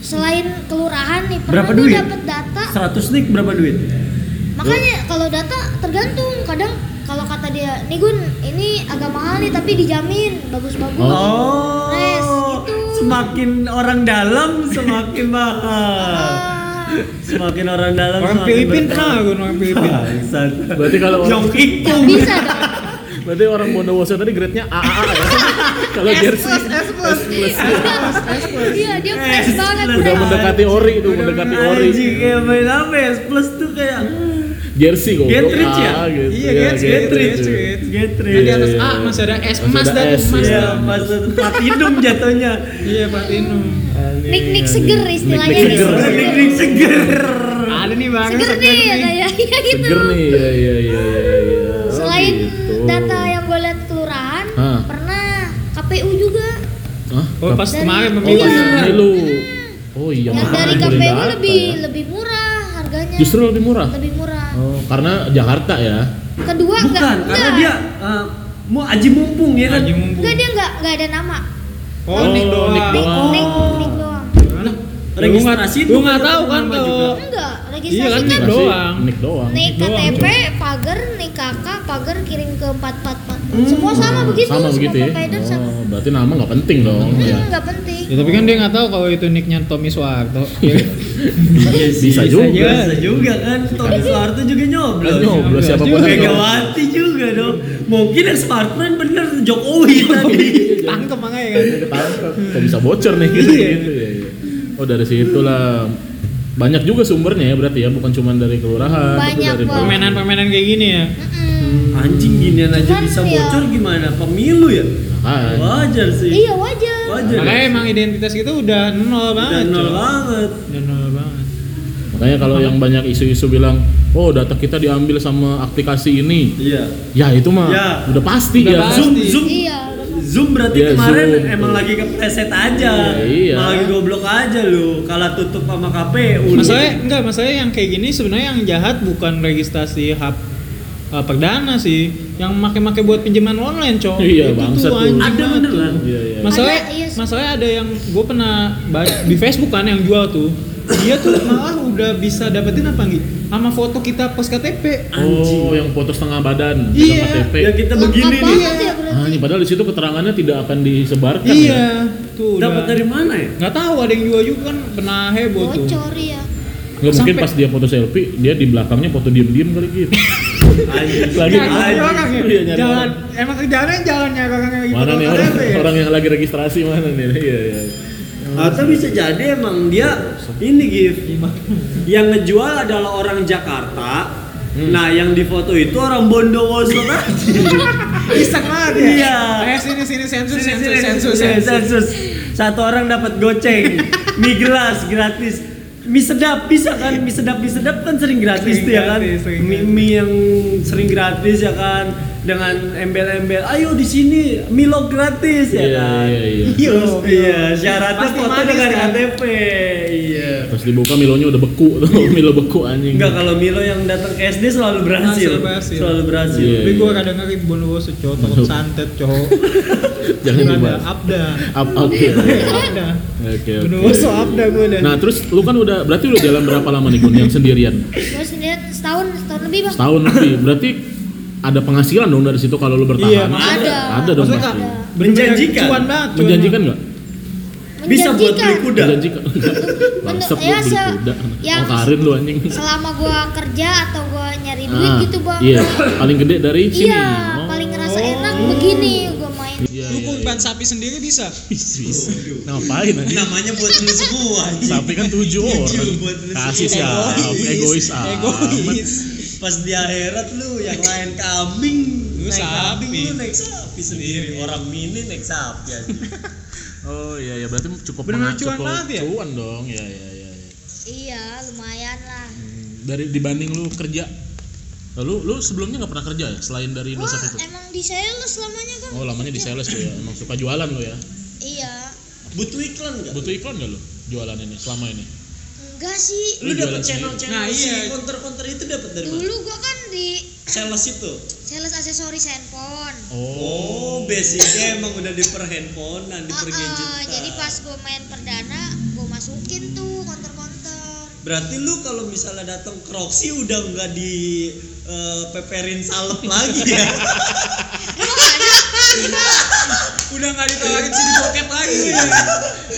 Selain kelurahan nih, pernah Berapa gua duit? dapet data. 100 nick berapa duit? Makanya kalau data tergantung, kadang kalau kata dia, nih Gun, ini agak mahal nih tapi dijamin bagus-bagus. Oh. Res, gitu. Semakin orang dalam semakin mahal. Ah. Semakin orang dalam orang semakin Filipin bertambah. kenal gue orang Filipin. Bangsat. Berarti kalau orang, Jong Gak Ikung. bisa dong. berarti orang Bondowoso tadi grade-nya AAA ya. kalau jersey S plus. Iya, dia fresh Eh, banget. udah plus. fresh. mendekati ori itu, mendekati ori. Anjing kayak main apa ya? Plus tuh kayak jersey goblok. Get rich ya? Ah, gitu. Iya, Ya, get Get rich, rich. get Nah, di rich. atas Iya, A iya. masih ada S Masih mas ada dan S, mas iya. Iya, dan pas platinum jatuhnya. Iya Platinum. Nik nik seger istilahnya Nik-nik nih, seger. Ring ring seger. ada nih bang Seger nih, ada ya, ya gitu. Seger nih. Iya iya iya iya iya. Oh, Selain gitu. data yang gue lihat kelurahan, Hah. pernah KPU juga. Hah? oh pas Dari- kemarin Oh, pemilu Iya. pas pemilu. Oh iya, yang makanya dari boleh KPU data lebih ya. lebih murah harganya. Justru lebih murah. lebih murah. Oh, karena Jakarta ya. Kedua enggak Bukan, karena dia eh, mau aji mumpung ya kan. Haji Mumpung. enggak dia enggak enggak ada nama. Oh, Nick doang. Nick Nik doang. nik nik doang. Registrasi lu nggak tahu kan nama juga. tuh Enggak, Iya registrasi kan, kan Nick doang. Nick doang. nik doang. KTP, pagar, nik KK, pagar kirim ke 444. Semua sama begitu, Sama begitu ya. semua provider sama. Oh, berarti nama nggak penting dong. ya. Hmm, enggak penting. ya tapi kan dia nggak tahu kalau itu nicknya Tommy Soeharto ya kan? Bisa juga. Biasa juga kan, Tommy Soeharto juga nyoblos. Nyoblos siapa pun. Megawati juga dong. Mungkin yang smartphone bener Jokowi tadi. tangkep makanya kan Ketangkep. Kok bisa bocor nih gitu, gitu ya. Oh dari situlah banyak juga sumbernya ya berarti ya bukan cuma dari kelurahan tapi Banyak, dari Bang. permainan-permainan kayak gini ya Mm-mm. Anjing ginian aja Cuman bisa ya. bocor gimana? Pemilu ya? Kan. Wajar sih. Iya wajar. Wajar. makanya emang identitas kita udah nol Dan banget nol coy. banget. udah nol banget Makanya kalau yang banyak isu-isu bilang, "Oh, data kita diambil sama aplikasi ini." Iya. Ya, itu mah Ya. udah pasti Udah ya. pasti. Zoom zoom Iya. udah pasti. Zoom berarti Iya, kemarin Zoom. emang lagi kepleset aja. Iya, iya. Malah lagi goblok aja lu. Kalah tutup sama KPU. lu. masalahnya enggak masalahnya yang kayak gini sebenarnya yang jahat bukan registrasi hap eh, perdana sih yang make-make buat pinjaman online cowok Iya, bangsat tuh. anjing Ada banget beneran. tuh. Iya, iya. masalahnya Ada, iya sih. masalahnya ada yang gue pernah ba- di Facebook kan yang jual tuh dia tuh malah udah bisa dapetin apa nih sama foto kita pas KTP Anjing. Oh, yang foto setengah badan Iya. sama KTP. Ya kita Lengkap begini nih. banget ya berarti. Ah, ini padahal di situ keterangannya tidak akan disebarkan ya. iya tuh Dapat udah. dari mana ya? nggak tahu ada yang jual juga kan pernah heboh tuh Bocor ya. Nggak mungkin Sampai- pas dia foto selfie, dia di belakangnya foto diem-diem kali gitu. Anjing. Lagi Nggak, Anjing. orang ya. Iya, nyari jangan emang jangan jangan nyari orang yang lagi mana foto nih KTP orang, ya. orang yang lagi registrasi mana nih? Iya, iya. Atau Ah, bisa jadi emang dia ini gift yang ngejual adalah orang Jakarta. Nah, yang difoto itu orang Bondowoso tadi. Iseng banget ya? Iya. Eh sini sini sensus Sini, sensus sini, sensus sini, sensus. sensus. Satu orang dapat goceng, mie gelas gratis. Mie sedap bisa kan? Mie sedap mie sedap kan sering gratis Sering tuh ya kan? gratis, sering Mie, gratis. mie yang sering gratis ya kan? Dengan embel-embel, ayo di sini Milo gratis ya Iya, kan? iya, iya. Terus, iya, syaratnya Pasti foto manis, dengan kan? KTP. Iya. Pas dibuka Milonya udah beku tuh, Milo beku anjing. Enggak kalau Milo yang datang ke SD selalu berhasil. Selalu berhasil. Selalu berhasil. Iya. Tapi gua kadang ngeri Bondowoso cowok takut santet cowok. Jangan Ada dibahas. abda. Up up. Oke, Abda. oke. Bondowoso abda gua dah. Nah, terus lu kan udah berarti udah jalan berapa lama nih Gun yang sendirian? Gue sendirian setahun setahun lebih bang. Setahun lebih. Berarti ada penghasilan dong dari situ kalau lu bertahan. Iya, Ada. Ada dong Maksudnya pasti. Ada. bener-bener Menjanjikan. Cuan banget. cuan Menjanjikan nggak? Bisa buat beli Menjanjikan. kuda. Menjanjikan. Bangsat ya, lu beli se- kuda. yang- Makarin lu anjing. Selama gue kerja atau gue nyari duit Ah, gitu bang. Iya, paling gede dari sini. Iya, Oh. paling ngerasa enak begini gue main. Iya, Lu iya, iya. kurban sapi sendiri bisa. Ngapain anjing? namanya buat lu semua anjing. Sapi kan tujuh orang. buat lu Kasih sih, egois amat. Egois. pas di akhirat lu yang lain kambing Lu naik sapi. kambing lu naik sapi sendiri orang mini naik sapi anjing. Oh iya ya berarti cukup Bener-bener mengacu cuan ke banget ya? cuan dong. Ya ya ya. ya. Iya, lumayan lah. Dari dibanding lu kerja. Lalu lu sebelumnya nggak pernah kerja ya selain dari Gue Indosat itu? emang di sales lamanya kan. Oh lamanya di sales tuh ya, emang suka jualan lu ya? Iya, butuh iklan gak? Butuh iklan gak lu jualan ini selama ini? enggak sih. lu Lu dapet jualan channel channel Nah, iya. konter-konter itu dapet dari mana? Dulu gue kan di sales itu sales aksesoris handphone. oh basicnya emang udah di perhandphonean di Ah, ah, pergadgetan jadi pas gue main perdana, gue masukin tuh konter-konter. berarti lu kalau misalnya datang ke Roxy udah nggak di eh, peperin salep lagi ya Lu ada? udah nggak ditawarin sini bokep lagi nih.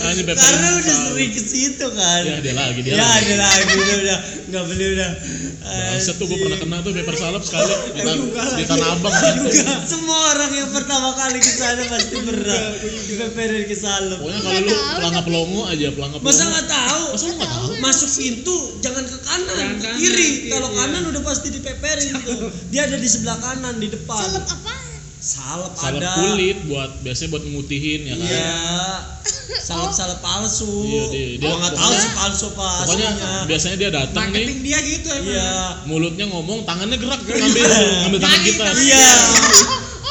Ah, ini Pepper ya? Karena yang udah tahu. sering ke situ kan. Ya, dia lagi, dia Ya, lagi. dia lagi dia udah nggak beli udah. Bangset tuh gue pernah kena tuh paper salep sekali di, tan- juga di lagi. Tanah Abang. Juga. Semua orang yang pertama kali ke sana pasti pernah gitu. peperin ke salep. Pokoknya kalau lu Nggak tahu, pelangga pelongo aja pelangga Masa pelongo. nggak tahu? Masuk pintu jangan ke kanan, ke kiri. iya. Kalau kanan udah pasti dipeperin gitu. tuh. Dia ada di sebelah kanan di Salep depan. apa? Salep, Salep ada. kulit buat biasanya buat memutihin ya kan. Iya. Oh. Salep-salep palsu. Iya, dia- dia- Gua nggak tahu sih palsu apa Pokoknya aslinya. biasanya dia datang nih Marketing dia gitu emang. Iya. mulutnya ngomong tangannya gerak ngambil ngambil tangan kita. Iya.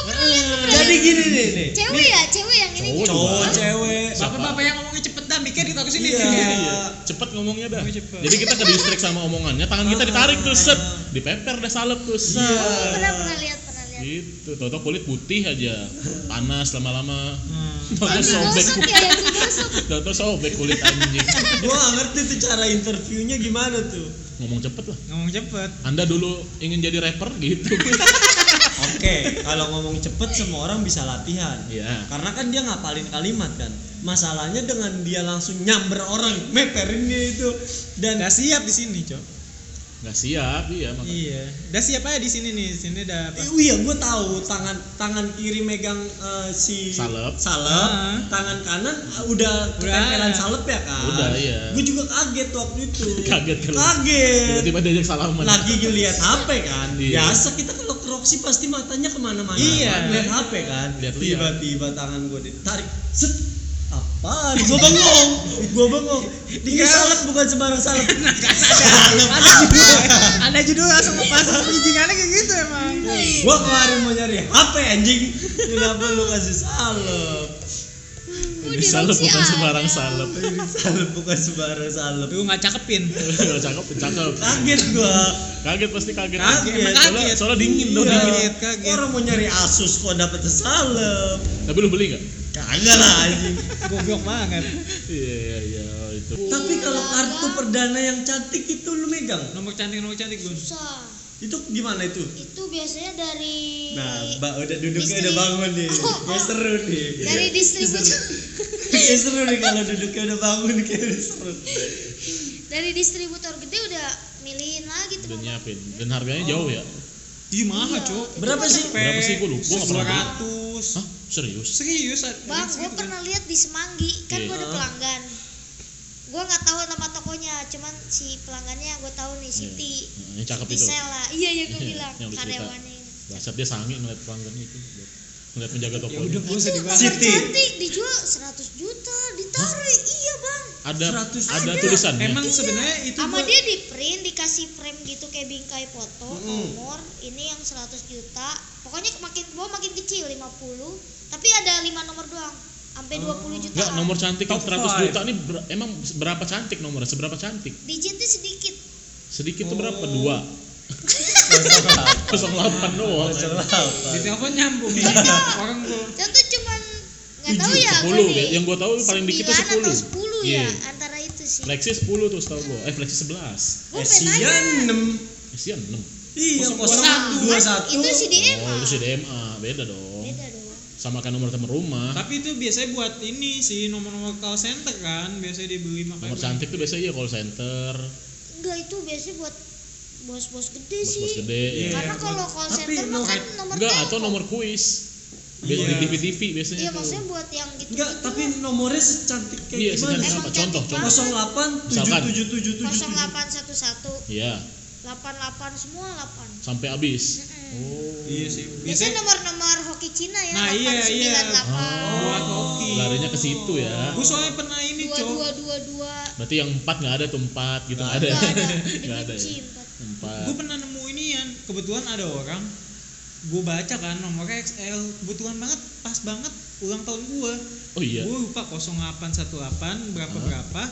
Oh, pernah, gua pernah. Jadi gini nih nih. Cewek ya, cewek yang ini. Cowok Cowok juga. cewek. Bapak-bapak yang ngomongnya cepet dah, mikir ditaruh Iya. ke sini. Iya. cepet ngomongnya dah Ngomongnya cepet. jadi kita ke distrik sama omongannya tangan kita ditarik tuh set Ah. dipeper dah salep tuh set Iya. Iya. Oh, pernah pernah lihat, pernah lihat. gitu toto kulit putih aja panas lama-lama Hmm. toto sobek Digosok ya, yang digosok. toto sobek kulit anjing Gua nggak ngerti tuh cara interviewnya gimana tuh. ngomong cepet lah Ngomong cepet. anda dulu ingin jadi rapper gitu Oke, kalau ngomong cepet semua orang bisa latihan. Iya. Karena kan dia ngapalin kalimat kan. Masalahnya dengan dia langsung nyamber orang, meperin dia itu dan Udah siap di sini, Cok. nggak siap iya makanya Iya. Udah siap aja di sini nih. Di sini udah apa? Eh, iya, gue tahu tangan tangan kiri megang eh, si Salep. Ah. tangan kanan ah, udah ketempelan ada. salep ya kan. Udah, iya. Gue juga kaget waktu itu. Kaget kan lu? Kaget. tiba-tiba diajak salaman Lagi ngeliat HP kan. Iya. Biasa kita kalau ke Roxy pasti matanya kemana-mana. Iya. Kan? Lihat HP kan. Lihat-lihat. Tiba-tiba tangan gue ditarik. Set. Apaan? Gue bengong. Gue bengong. Iya. Dikira salep bukan sembarang salep. Nah, kan Salep Ada judul langsung lepas bridgingannya kayak gitu emang. gua kemarin mau nyari HP anjing kenapa lu kasih salep Gua ini di salep Iya. Roxy bukan ada. sembarang salep salep bukan sembarang salep Tuh nggak cakepin. cakep cakep kaget gua kaget pasti kaget Kaget, Soalnya- soalnya, kaget. soalnya dingin dong Iya. dingin dingin, kaget. orang mau nyari Asus kok dapet salep tapi lu beli nggak kagak lah anjing Goblok banget. iya iya iya oh, itu tapi kalau kartu perdana yang cantik itu lu megang Nomor cantik nomor cantik gue. Susah. itu gimana itu Itu biasanya dari nah mbak udah duduknya Istri. udah bangun nih Oh, gue oh. seru nih Iya. dari distributor Kayak Iya, seru nih kalau duduknya udah bangun kayak udah seru dari distributor gede udah milihin lagi tuh. udah Mama. nyiapin dan harganya jauh ya Oh. Ih mahal, Iya. Cok. berapa sih Berapa sih? Gua lupa, gua nggak pernah beli. ratus. hah serius Serius? ada Bang, gue yang segitu, ya? pernah lihat di Semanggi, kan Iya. gue ada pelanggan. Gue nggak tahu nama tokonya, cuman si pelanggannya gue tahu nih Siti. Iya, yang cakep Siti itu. Sela. Iya, iya gue Iya, bilang yang lu cerita. karyawannya. Bangsat dia sange ngeliat pelanggan itu ngeliat penjaga Ya toko Itu kamar Siti. cantik dijual 100 juta, ditaruh. Iya, Bang. ada 100 ada ya? ada. tulisannya Emang Iya. sebenarnya itu sama gua- dia di print dikasih frame gitu kayak bingkai foto nomor ini yang 100 juta pokoknya makin gua makin kecil 50 tapi ada 5 nomor doang sampai 20 juta Enggak, Oh. nomor cantik yang Top 100 five. juta nih ber- emang berapa cantik nomornya? Seberapa cantik? digitnya sedikit Sedikit tuh Oh. berapa? Dua. 08 doang. Di telepon nyambung Iya. ya. Orang gue contoh cuman nggak tahu ya 10 gua ya. di Yang gua tahu paling dikit tuh 9 atau 10. 10 Iya. ya antara itu sih Flexi 10 tuh setahu gua. Eh, Flexi 11. gua pengen Asia nanya 6 Isian 6. iya kosong dua Mas, satu itu si DM Oh, itu CDMA, beda dong. beda doang Sama kan nomor teman rumah. Tapi itu biasanya buat ini sih nomor-nomor call center kan, biasanya dibeli makanya. Nomor cantik tuh biasanya iya call center, enggak itu biasanya buat bos-bos gede Iya sih bos-bos gede. Iya, ya. karena kalau call center mah kan nomor Enggak, atau telepon. nomor kuis. Biasanya Iya. di TV-TV biasanya iya tuh. maksudnya buat yang gitu enggak tapi nomornya secantik kayak Iya, gimana secantik Emang apa? cantik Contoh, banget. contoh. 08 Misalkan. 7777 0811 Iya, 88 semua 8 sampai habis. Iya sih. biasanya Biasanya nomor-nomor hoki Cina ya Nah, iya, iya. 898 Oh, buat hoki. Larinya ke situ ya. Gue soalnya pernah ini, Cok. 2222 Berarti yang empat nggak ada tuh empat gitu nggak ada. enggak ada Nggak ada ya. dibenci Empat. Gue pernah nemu ini Yan. kebetulan ada orang gue baca kan nomornya XL kebetulan banget pas banget ulang tahun gue Oh iya. gue lupa 0818 berapa berapa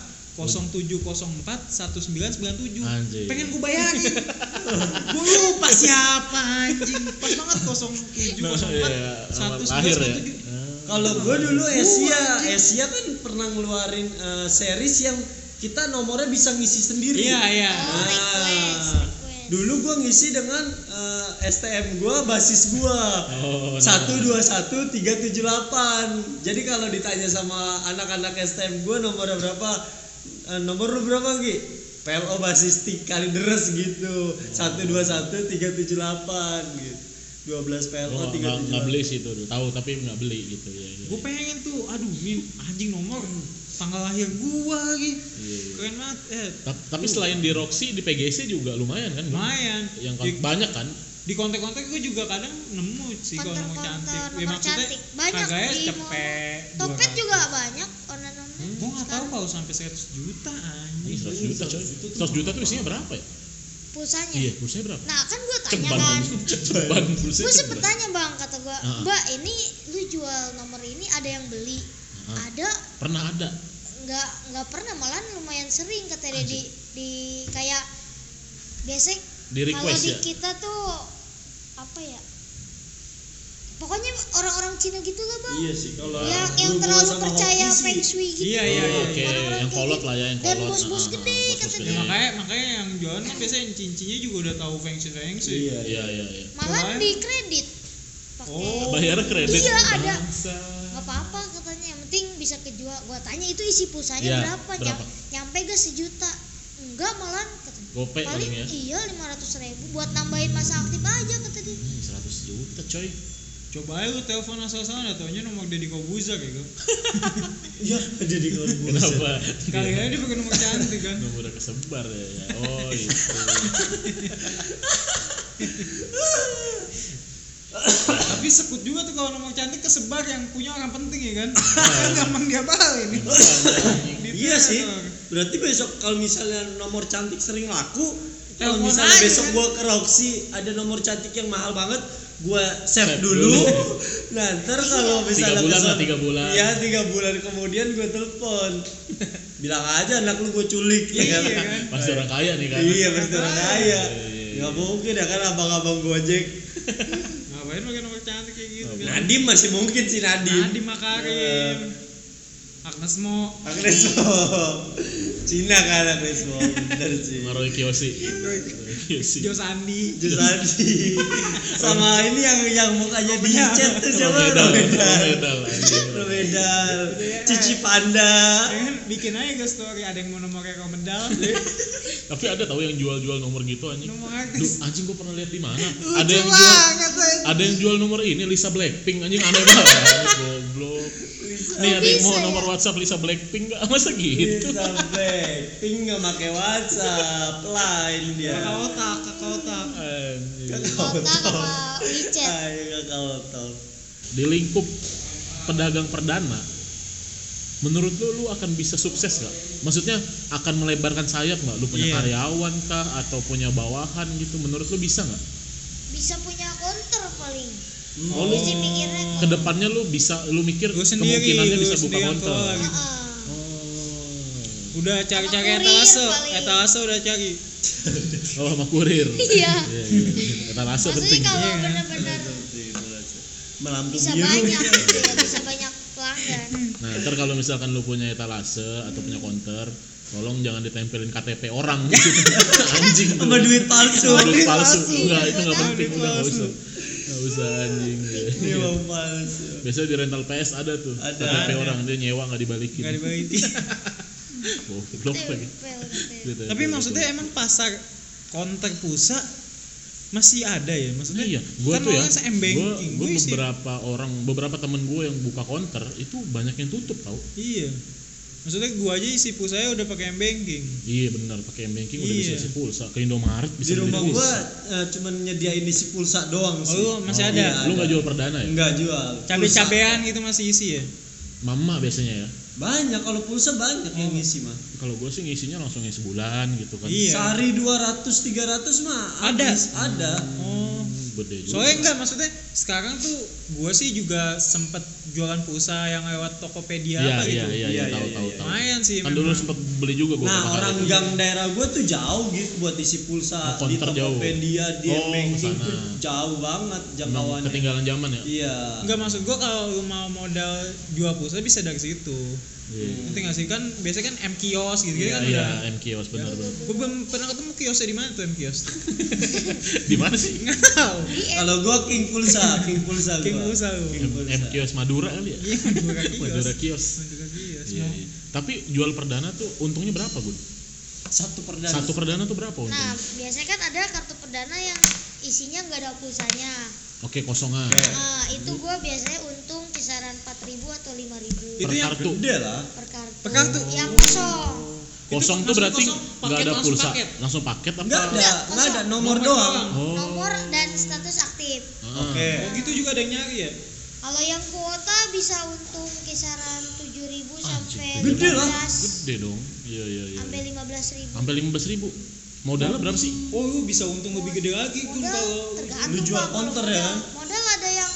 0704 1997 Anjing. pengen gue bayangin gue lupa siapa anjing pas banget 0704 Iya, lahir ya. 1997 kalau gue dulu Asia Asia kan pernah ngeluarin eh, series yang kita nomornya bisa ngisi sendiri iya iya oh request request dulu gua ngisi dengan eh, STM gua basis gua Oh, nah. satu dua satu tiga tujuh delapan jadi kalau ditanya sama anak-anak STM gua nomor berapa eh, nomor lu berapa Gi? PLO basis tik kali deres gitu satu dua satu tiga tujuh delapan gitu 12 PLO Gua tiga Oh, nggak nggak beli sih itu, tahu tapi nggak beli gitu ya. iya. Gue pengen tuh, aduh ini anjing nomor tanggal lahir gua lagi. Iya, iya. Keren banget. Eh, Ta- Tapi selain di Roxy di PGC juga lumayan kan? Bang? lumayan. Yang kan- Di, banyak kan? di kontak-kontak gue juga kadang nemu sih kalau mau konter-konter cantik. nomor cantik banyak harganya di cepet. Topet 200. juga banyak online online Gue nggak tahu kalau sampai 100 juta Ini anjing. 100 juta coy. 100 juta tuh isinya berapa ya? pulsanya Iya, pulsanya berapa? nah kan gue tanya Ceban kan anjing. Ceban pulsanya. gue sempet ceban. tanya bang kata gue Heeh. mbak ini lu jual nomor ini ada yang beli Heeh. ada Pernah ada. nggak nggak pernah malah lumayan sering kata dia di di kayak biasanya Di kalau request di ya. kita tuh apa ya pokoknya orang-orang Cina gitu lah bang iya sih kalau yang yang berhubungan terlalu sama percaya hoki sih. feng shui gitu Iya, iya, iya. Oke, Orang-orang yang kayak kolot gitu. lah ya, yang dan kolot. bos-bos Ah, gede bos-bos kata gede. Ya, dia makanya makanya yang jualan kan biasanya yang cincinya juga udah tahu feng shui feng shui. iya Iya, iya, iya. malah Malah- di kredit pakai Oh, Bayar kredit. iya ada Bisa. nggak apa-apa katanya yang penting bisa kejual gua tanya itu isi pulsanya Iya, berapa, Nyam- berapa? nyampe gak sejuta enggak malah kata dia. Gopay paling paling ya. iya lima ratus ribu buat nambahin masa aktif aja kata dia Hmm, 100 juta coy. Coba aja lu telepon asal-asalan, taunya nomor Deddy Kobuza kayak gitu. iya jadi kalau gua Kenapa? Kali ya. aja dia pakai nomor cantik kan. Nomor udah kesebar ya. ya. Oh, itu. Tapi sekut juga tuh kalau nomor cantik kesebar yang punya orang penting ya kan. Iya. Kan gampang dia balin. Iya sih. Berarti besok kalau misalnya nomor cantik sering laku, kalau Telepon misalnya aja besok kan. gua ke Roxy ada nomor cantik yang mahal banget, gua save dulu. nah, ntar kalau misalnya bulan kesana- lah, tiga bulan. Iya, tiga bulan kemudian gua telepon. Bilang aja anak lu gua culik ya kan. Iya kan? Pasti orang kaya nih kan. Iya, pasti orang kaya. iya, Gak mungkin ya kan abang-abang Gojek. Ngapain pakai nomor cantik kayak gitu kan. Nadim masih mungkin sih Iya. Nadi Nadim. Makarim. Agnes Mo. Agnes Mo. Cina kan Agnes Mo. Bener sih. Maroi Kiyoshi. Kiyoshi. Jo Sandi. Jusadi sama ini yang yang mukanya di chat tuh siapa Romedal, Romedal Romedal, anjing. Romedal Cici Panda Ya kan bikin aja guys story ada yang mau nomor rekomendal. Tapi ada tahu yang jual-jual nomor gitu anjing. nomor Duh, artis. anjing gua pernah lihat di mana? Lucu Ada yang jual banget, anjing. ada yang jual nomor ini Lisa Blackpink anjing aneh banget. Goblok. Nih ada yang mau Bisa ya? nomor WhatsApp Lisa Blackpink enggak? Masa Iya. gitu? Bisa Blackpink nggak pakai WhatsApp Line dia Kakak otak, kakak otak. Anjing. Oh, kota sama WeChat Ayo kakak otak Di lingkup pedagang perdana Menurut lu, lu akan bisa sukses gak? Maksudnya akan melebarkan sayap gak? Lu punya Iya. karyawan kah? Atau punya bawahan gitu? Menurut lu bisa gak? bisa punya konter paling Hmm. Oh, lu bisa mikirnya konter kedepannya lu bisa lu mikir Lu sendiri, kemungkinannya lu bisa buka sendiri yang konter keluar. Heeh. Udah cari-cari Sama kurir etalase. paling. Etalase udah cari. oh sama kurir iya Iya, iya, iya. kata rasa maksudnya penting Iya. kalau benar-benar Melampung bisa biru banyak gitu ya bisa banyak pelanggan nah ntar kalau misalkan lu punya etalase atau punya konter tolong jangan ditempelin KTP orang di situ. anjing tuh Sama duit palsu Sama duit palsu Iya, enggak itu Sama nggak penting duit udah nggak palsu. usah nggak usah anjing Ini iya. uang palsu biasanya di rental PS ada tuh Ada, KTP ada. orang dia nyewa nggak dibalikin Gak dibagi. goblok lagi Tempel, tempel. Gitu, Tapi gitu, maksudnya gitu. emang pasar kontak pulsa masih ada ya? Maksudnya iya gue kan tuh ya orang se- m-banking, gue gua isi- beberapa orang beberapa temen gue yang buka konter itu banyak yang tutup tau Iya. Maksudnya gua aja isi pulsanya udah pakai banking. Iya benar pakai banking udah bisa Iya. isi pulsa ke Indomaret Di bisa beli rumah pulsa. gua eh, cuman nyediain isi pulsa doang Oh, sih lu masih Oh, ada? iya, Lu nggak jual perdana ya? Nggak jual Cabe-cabean gitu masih isi ya? Mama biasanya ya. Pulsa. Banyak kalau pulsa banyak yang ngisi mah Kalau gue sih ngisinya langsung ngisi bulan gitu kan. Oh. Iya. Sehari 200 300 mah Ada. habis. Ada. Oh. Hmm, Gede juga. Soalnya enggak maksudnya sekarang tuh gua sih juga sempet jualan pulsa yang lewat Tokopedia Iya apa iya gitu. iya Iya, iya iya, tahu tahu iya. tahu. Lumayan sih Kan dulu memang. sempet beli juga gue. Nah, orang gang daerah gue tuh jauh gitu buat isi pulsa Oh, di konter jauh. Tokopedia, di Oh, banking kesana. tuh jauh banget jangkauannya. ketinggalan zaman ya. Iya. Enggak maksud gua kalau lu mau modal jual pulsa bisa dari situ. Iya, Nanti nggak sih kan biasanya kan M kios gitu Iya, kan iya, udah. M kios benar benar. Gue belum pernah ketemu kiosnya di mana tuh M kios. Di mana sih? Nggak tahu. Kalau gua king pulsa, king pulsa gua. King Musa lu. M, M kios Madura kali ya. Iya, Madura kios. Madura kios. Madura kios. Iya, iya. Tapi jual perdana tuh untungnya berapa, Gun? Satu perdana. Satu perdana tuh berapa Nah, untungnya? biasanya kan ada kartu perdana yang isinya nggak ada pulsanya. Oke, kosongan. Nah, itu gue biasanya untung kisaran 4.000 atau 5.000 Per Itu yang kartu. Gede lah. per kartu. Iya. Per kartu. Yang kosong. Kosong Itu tuh langsung berarti kosong, nggak paket, ada langsung pulsa. paket. Langsung paket apa? Enggak ada, Enggak, enggak ada kosong. nomor, Nomor doang. doang. Oh. Nomor dan status aktif. Ah. Oke. Oh gitu juga ada yang nyari ya? Kalau yang kuota bisa untung kisaran 7.000 sampai Gede lah. 15 Gede dong. Iya, iya, iya. sampai 15.000. Sampai 15 ribu. Modalnya berapa sih? Oh lu bisa untung lebih gede lagi kun Modal kalau tergantung lu jual Pak, kalau counter ya modal. kan? Modal ada yang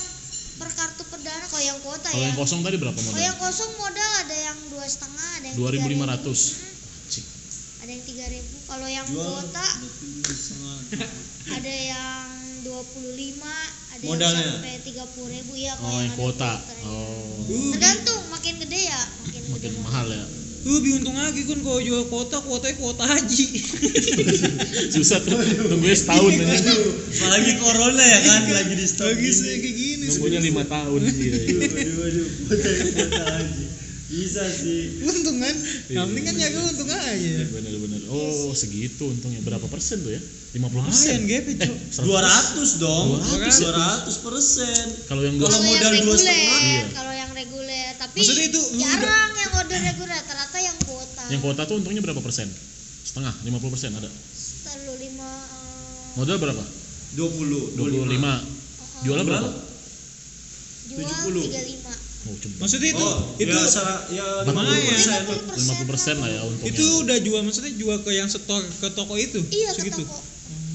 per kartu perdana kalau yang kuota Kalau ya. yang kosong tadi berapa Kalau yang modal? kosong modal ada yang dua setengah, ada yang 2.500. 3.000. ada yang tiga ribu kalau yang Jual. kuota Setengah. ada yang 25 ada Modalnya? yang sampai tiga puluh ribu ya kalau Oh, yang ada kuota. kuotanya. Oh. Lu bi- tergantung makin gede ya makin, gede Makin mahal ya. lu lebih untung lagi kun kalau jual kuota kuotanya kuota haji. Susah tuh. Nunggunya setahun anjing. Aduh, ya. apalagi corona ya kan lagi di stop Iya, Lagi sih gini. kayak gini. Nunggunya 5 tahun. Iya, iya. Waduh, waduh, kota- kota aja. Bisa sih. Iya, Untung kan? Yang penting kan nyari untung aja. Bener-bener. Iya, Oh, segitu untungnya berapa persen tuh ya? 50 persen. Lumayan ya, gede cok. 200 Eh, dong. 200. 200 persen. Kalau yang Kalau dua kalau yang modal dua reguler setengah, iya. kalau yang reguler tapi Maksudnya itu lu jarang yang order reguler rata-rata yang kuota yang kuota tuh untungnya berapa persen? Setengah, 50 persen ada. terlalu lima eh, Modal berapa? 20, 25. Jualnya berapa? jual 70. eh, tiga lima Oh, cuma Maksudnya itu Oh, itu itu ya, sara- ya Lumayan. 50%. 50 persen lah ya untungnya. itu udah jual maksudnya jual ke yang setor ke toko itu. iya ke Segitu. toko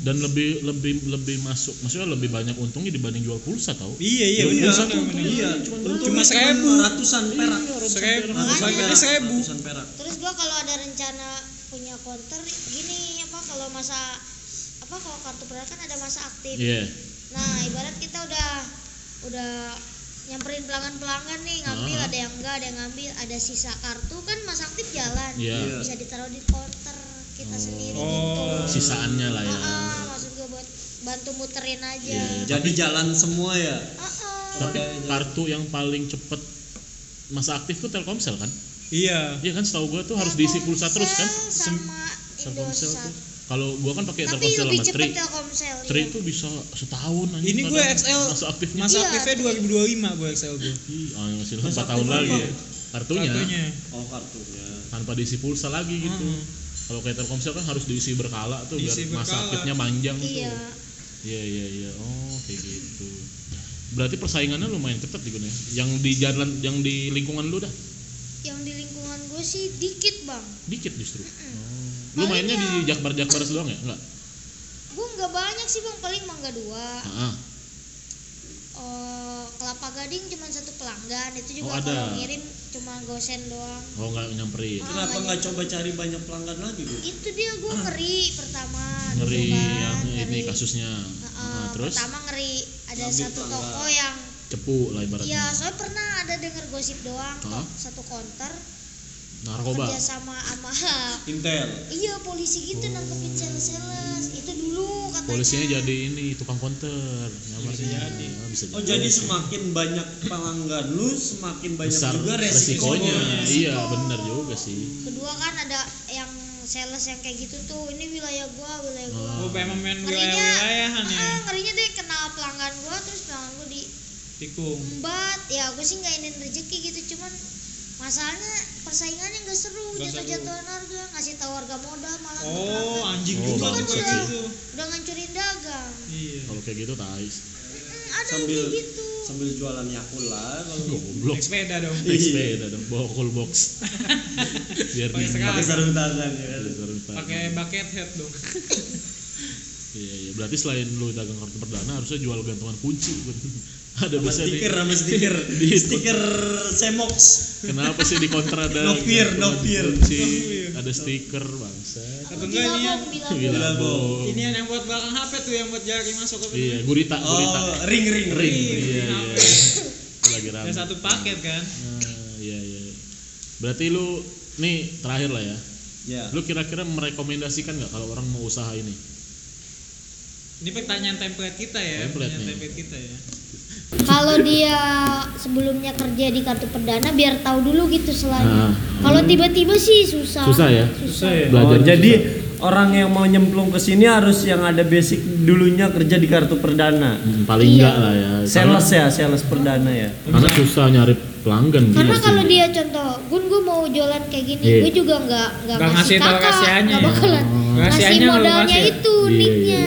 Dan lebih lebih lebih masuk, maksudnya lebih banyak untungnya dibanding jual pulsa tau? Iya iya Jual bener, pulsa bener, tuh bener. untungnya Iya, cuma untungnya Cuma cuma seribu. ratusan Iya, perak. Seribu. Ratusan Harganya perak. seribu. Ratusan perak. terus gua kalau ada rencana punya counter gini apa kalau masa apa kalau kartu perdana kan ada masa aktif Iya. nah ibarat kita udah udah nyamperin pelanggan-pelanggan nih ngambil Ah. ada yang enggak ada yang ngambil ada sisa kartu kan masa aktif jalan Iya. bisa ditaruh di counter kita sendiri gitu Sisaannya lah Ah, ya. ah, maksud gua buat bantu muterin aja Iya. Jadi jalan semua ya. Ah, ah. Tapi kartu yang paling cepet masa aktif tuh Telkomsel kan? Iya. Iya kan, setahu gua tuh harus diisi pulsa terus kan? Telkomsel sama Telkomsel Indosat tuh. Kalau gua kan pakai tapi Telkomsel lebih sama Tri. cepet Telkomsel Tri iya. itu bisa setahun anjing. Ini gue kadang XL masa aktifnya. masa Iya. aktifnya 2025 gue XL gue. Ih, ah, masih 4 tahun lagi ya. Kartunya, Kartunya. Oh, kartunya. tanpa diisi pulsa lagi gitu. Heeh. Kalau kayak Telkomsel kan harus diisi berkala tuh Diisi biar masa berkala. aktifnya panjang iya tuh. Iya iya iya. Oh, kayak gitu. Berarti persaingannya lumayan cepat di Gun, ya. Yang di jalan yang di lingkungan lu dah yang di lingkungan gue sih dikit bang dikit justru. Oh. Lu mainnya di Jakbar-Jakbar doang ya? Enggak. gue nggak banyak sih bang paling mangga dua Heeh. Eh, kelapa gading cuma satu pelanggan itu Oh, juga ada. kalau ngirim cuma gosen doang Oh, enggak nyamperin. Kenapa nggak coba cari banyak pelanggan lagi, Bu? itu dia gue ngeri pertama Ah. Ngeri gitu kan, yang ini ngeri. kasusnya. Heeh, Nah, terus pertama ngeri ada Ngambil satu pelanggan. toko yang cepu lah ibaratnya. ya soalnya pernah ada denger gosip doang Hah? tok- satu konter Narkoba. kerja sama sama Intel. iya polisi gitu nangkepin sales-sales itu dulu katanya Polisinya jadi ini tukang konter, nyamar sih jadi. Oh, bisa Iya, Oh, jadi semakin banyak pelanggan lu, semakin banyak besar juga resikonya. resikonya. ya. Resiko. Iya, benar juga sih. kedua kan ada yang sales yang kayak gitu tuh ini wilayah gua wilayah Oh. Nah. gua Gue pengen main ngerinya wilayah-wilayahan ya. ah, ngerinya deh kenal pelanggan gua terus pelanggan gua Tikung. diembat ya gua sih nggak ingin rezeki gitu cuman masalahnya persaingannya nggak seru Nggak jatuh-jatuhan harga ngasih tahu harga modal malah ke Oh, pelanggan. anjing Oh, juga bangsat tuh. sih. udah ngancurin dagang Iya. Oh. Kalau kayak gitu tai. Mm, ada yang Sambil kayak gitu sambil jualan Yakult kalau Goblok. Naik sepeda dong. Naik sepeda dong, bawa cool box. Biar Iya, Pakai dingin. sekali. Iya. pakai sarung tangan ya. kan? Ada sarung tangan. Pakai bucket head dong. Iya, iya. Berarti selain lu dagang kartu perdana harusnya jual gantungan kunci. Bun. Ada Sama bisa di stiker, sama stiker, di- stiker Semox. Kenapa sih di kontra No ada fear, gantungan no fear. kunci, ada stiker bangsa. Atau enggak ini yang bilabong bilabong Bilabo. ini yang buat belakang HP tuh yang buat jari masuk ke Oh. Iya, gurita, gurita. Oh, ring ring Ring. ring. Iya, iya. Iya. Itu Lagi rame. Ada satu paket kan. Nah, iya iya. Berarti lu nih terakhir lah ya. Ya. Lu kira-kira merekomendasikan nggak kalau orang mau usaha ini? Ini pertanyaan template kita ya, Template pertanyaan nih. template kita ya. Kalau dia sebelumnya kerja di kartu perdana biar tahu dulu gitu Ah. selain. Kalau tiba-tiba sih susah. Susah ya? Susah. Iya, Belajar Oh, jadi orang yang mau nyemplung ke sini harus yang ada basic dulunya kerja di kartu perdana. Hmm, paling Iya. enggak lah ya. Karena, Sales ya, sales perdana ya. karena susah nyari pelanggan Karena gila iya sih. kalau dia contoh, Gun gue mau jualan kayak gini, Iya. gue juga nggak nggak Nggak ngasih ngasih tahu kakak, rahasianya nggak ya. bakalan ngasih Rahasianya ya? nggak lu modalnya kasih. itu Iya, nicknya.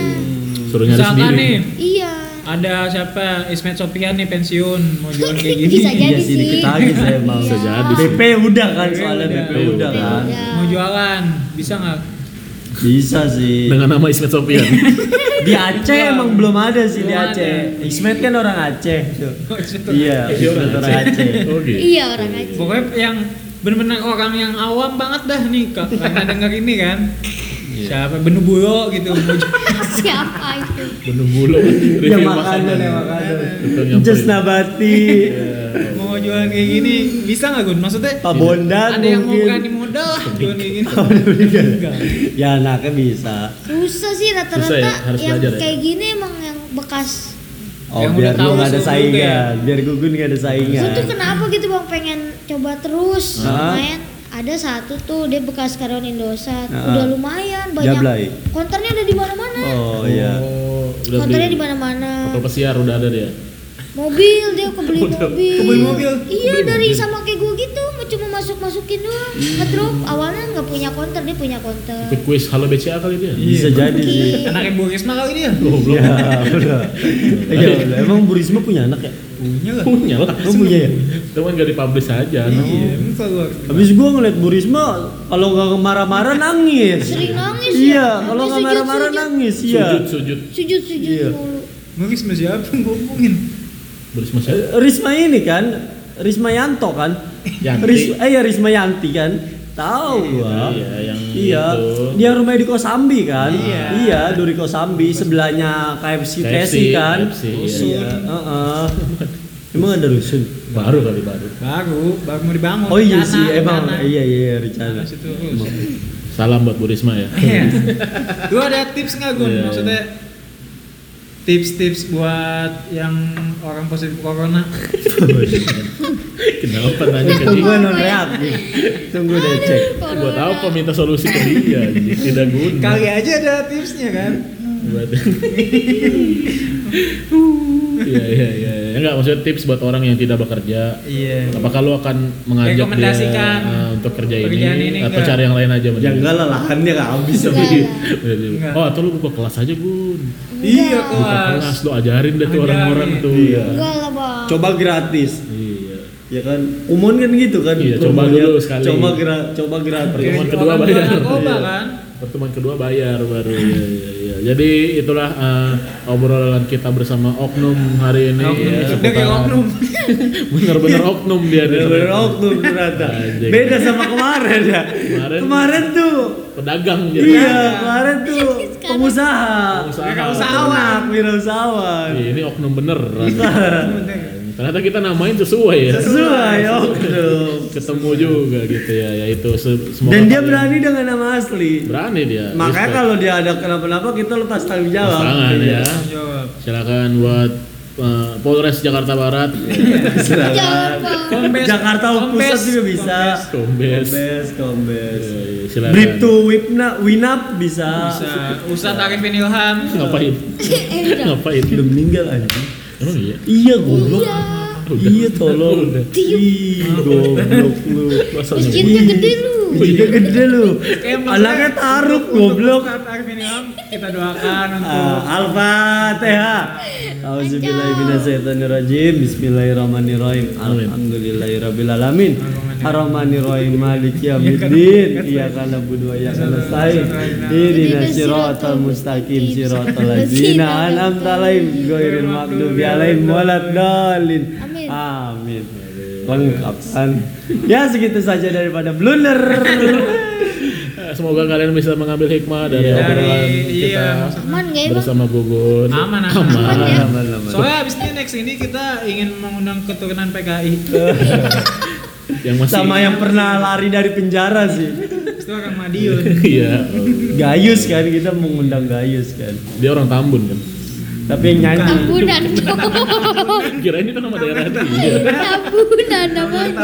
suruh nyari Misalkan sendiri. nih, Iya. ada siapa Ismet Sofian nih pensiun mau jualan kayak gini. Bisa jadi Iya sih dikit aja saya bang. Bisa Iya. jadi sih. BP udah kan soalnya Udah. BP Iya. udah kan. Udah. Mau jualan, bisa nggak? Bisa sih. Dengan nama Ismet Sofian. Iya, Di Aceh Iya. emang belum ada sih di Belum Aceh. ada. Ismet kan orang Aceh tuh. Oh, Ismet Sofian. Iya, Ismet orang Aceh. Oh gitu. Iya orang aja. Pokoknya yang benar-benar orang yang awam banget dah nih Kak, karena denger ini kan. Siapa Benu Buyo gitu. mau jualan. Siapa itu? Menunggu lo Ya review makanan ya makanan. Betul, makanan. yang Just paling- nabati, Iya. mau jualan kayak gini, bisa nggak Gun? Maksudnya Pak Bondan ada yang mau berani mungkin. modal lah jualan kayak gini. Enggak. Ya anaknya bisa. Susah sih rata-rata Susah ya, harus yang belajar ya. kayak gini emang yang bekas. Oh Yang biar udah tahu ya? lu gak ada sebelumnya saingan, biar gugun gak ada Gue saingan. tuh kenapa gitu bang pengen coba terus Iya. Hah? lumayan. Ada satu tuh dia bekas karyawan Indosat, Ah. udah lumayan banyak. Jablay. Konternya udah di mana-mana. Oh iya. Oh, udah Konternya beli. di Eh. mana-mana. Kalau pesiar udah ada dia. Mobil dia kebeli mobil. kebeli mobil? Iya dari sama kayak gue gitu, cuma masuk masukin doang. Ngedrop awalnya nggak punya konter dia punya konter. Ikut kuis Halo BCA kali dia. Bisa jadi sih. Mungkin. Anaknya Bu Risma kali ini ya? Goblok. Ya, udah. Ya, udah. Emang Bu Risma punya anak ya? Punya lah. Punya lah. Oh, punya ya? Cuman gak dipublish aja. Iya, emang selalu harus Habis gua ngeliat Bu Risma kalau nggak marah-marah nangis. Sering nangis ya. Iya, kalau nggak Sujud, marah-marah sujud. nangis, Sujud iya. sujud Sujud sujud Iya. mulu. Mungkin sama siapa gue hubungin beris masyarakat. Risma ini kan, Risma Yanto kan? Yanti. Ris- eh ya Risma Yanti kan? Tahu gua. Iya, yang Iya, itu. dia rumahnya di Kosambi kan? Iya. Iya, Duri Kosambi sebelahnya KFC KFC, Tesi kan? KFC, Iya, heeh. Emang ada rusun? Baru kali baru. Baru, baru mau dibangun Oh iya rencana, sih, emang rencana. iya iya rencana. Habis itu terus. Salam buat Bu Risma ya. Iya Lu ada tips nggak Gun? Iya, Maksudnya Tips-tips buat yang orang positif corona Kenapa nanya ke Tunggu dia? non reaktif. Tunggu deh cek. Corona. Buat apa minta solusi ke dia? anjing? Tidak guna. Kali aja ada tipsnya kan Buat- Iya iya iya. Ya, Enggak maksudnya tips buat orang yang tidak bekerja. Iya Apakah lu akan mengajak dia Rekomendasikan eh, untuk kerja ini, pekerjaan ini atau enggak? cari yang lain aja? Ya enggak lah lahannya nggak habis sama Enggak dia. lah. Bener-bener. Oh atau lu buka kelas aja Gun. Iya Buka kelas kelas lu ajarin deh tuh Ajarin. orang-orang tuh. Iya. Enggak lah bang. Coba gratis. Iya. Ya kan, umum kan gitu kan. Iya, coba promonya. dulu sekali. Coba gra- coba ya? gratis. Pertemuan Orang kedua jual bayar. narkoba Iya. kan? Pertemuan kedua bayar baru. Iya, iya, iya. Jadi itulah eh, obrolan kita bersama Oknum hari ini. Oknum, iya. ya, udah kayak seputar- oknum Bener-bener Oknum dia. nih. Bener-bener oknum ternyata. Anjing. Beda sama kemarin ya. Kemarin- Kemarin tuh Pedagang dia. Iya, kemarin tuh pengusaha. Pengusaha. Wirausahawan, wirausahawan. Iya, ini Oknum bener. Bener. Ternyata kita namain sesuai ya. Sesuai oh, oknum. Ketemu juga gitu ya. Ya itu se- semoga Dan dia kalian- berani dengan nama asli. Berani dia. Makanya respect. kalau dia ada kenapa-napa kita lepas tanggung jawab. iya. Iya. Pasangan ya. Jawab Silakan buat eh, Polres Jakarta Barat. Silakan. Jangan bang. Kombes. Iya, Jakarta pusat Kombes. juga bisa. Kombes. Kombes, kombes. Iya, iya, Silakan. Bripto Wipna, Winap bisa. Bisa Ustadz Arifin Ilham Ngapain? Eh udah. Ngapain? Udah meninggal anjing. Emang iya? Iya goblok. Udah. Iya tolong. Udah. Ih, goblok lu. Masa nyebut? Masjidnya gede lu. Ujinya gede lu. Kayak Eh, maksudnya Anaknya taruk untuk goblok. Ustadz Arifin Ilham kita doakan untuk Ah, Alfa TH. Auzubillahiminasyaitonirrajim. Bismillahirrahmanirrahim. Alhamdulillahirabbil alamin. Arrahmanirrahim. Maliki yaumiddin. Iyyaka na'budu wa iyyaka nasta'in. Ihdinas siratal mustaqim siratal ladzina an'amta alaihim ghairil maghdubi alaihim waladdallin. Amin. Amin. Lengkap kan? Ya segitu saja daripada blunder. Eh, Semoga kalian bisa mengambil hikmah dari Iya. obrolan Dari- kita iya. Aman gak ya bang? bersama Gugun. Aman, aman. aman. Aman ya? Aman, aman. Soalnya abis ini next ini kita ingin mengundang keturunan PKI Yang masih sama yang pernah lari dari penjara sih Setelah Kang Madiun. Iya. Gayus kan kita mengundang Gayus kan Dia orang Tambun kan. tapi yang nyanyi Tambunan Kirain itu nama daerah dia. Tambunan namanya.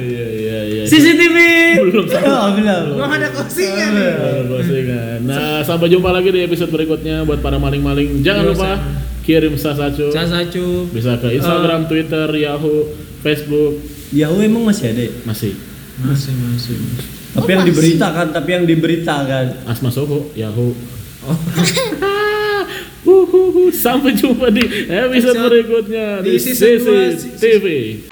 Iya iya iya. CCTV Belum sampai. oh, belum Belum ada closing-nya nih. Baru closingan. Nah, sampai jumpa lagi di episode berikutnya buat para maling-maling. Iya, Jangan lupa kirim sasacu. Sasacu. Bisa Eh. ke Instagram, Twitter, Yahoo, Facebook. Yahoo emang masih ada ya? Masih Masih masih. tapi yang diberitakan tapi yang diberitakan Asma Soho, ya Yahoo. Oh. Huhuhu. Sampai jumpa di episode berikutnya di di season dua, CCTV.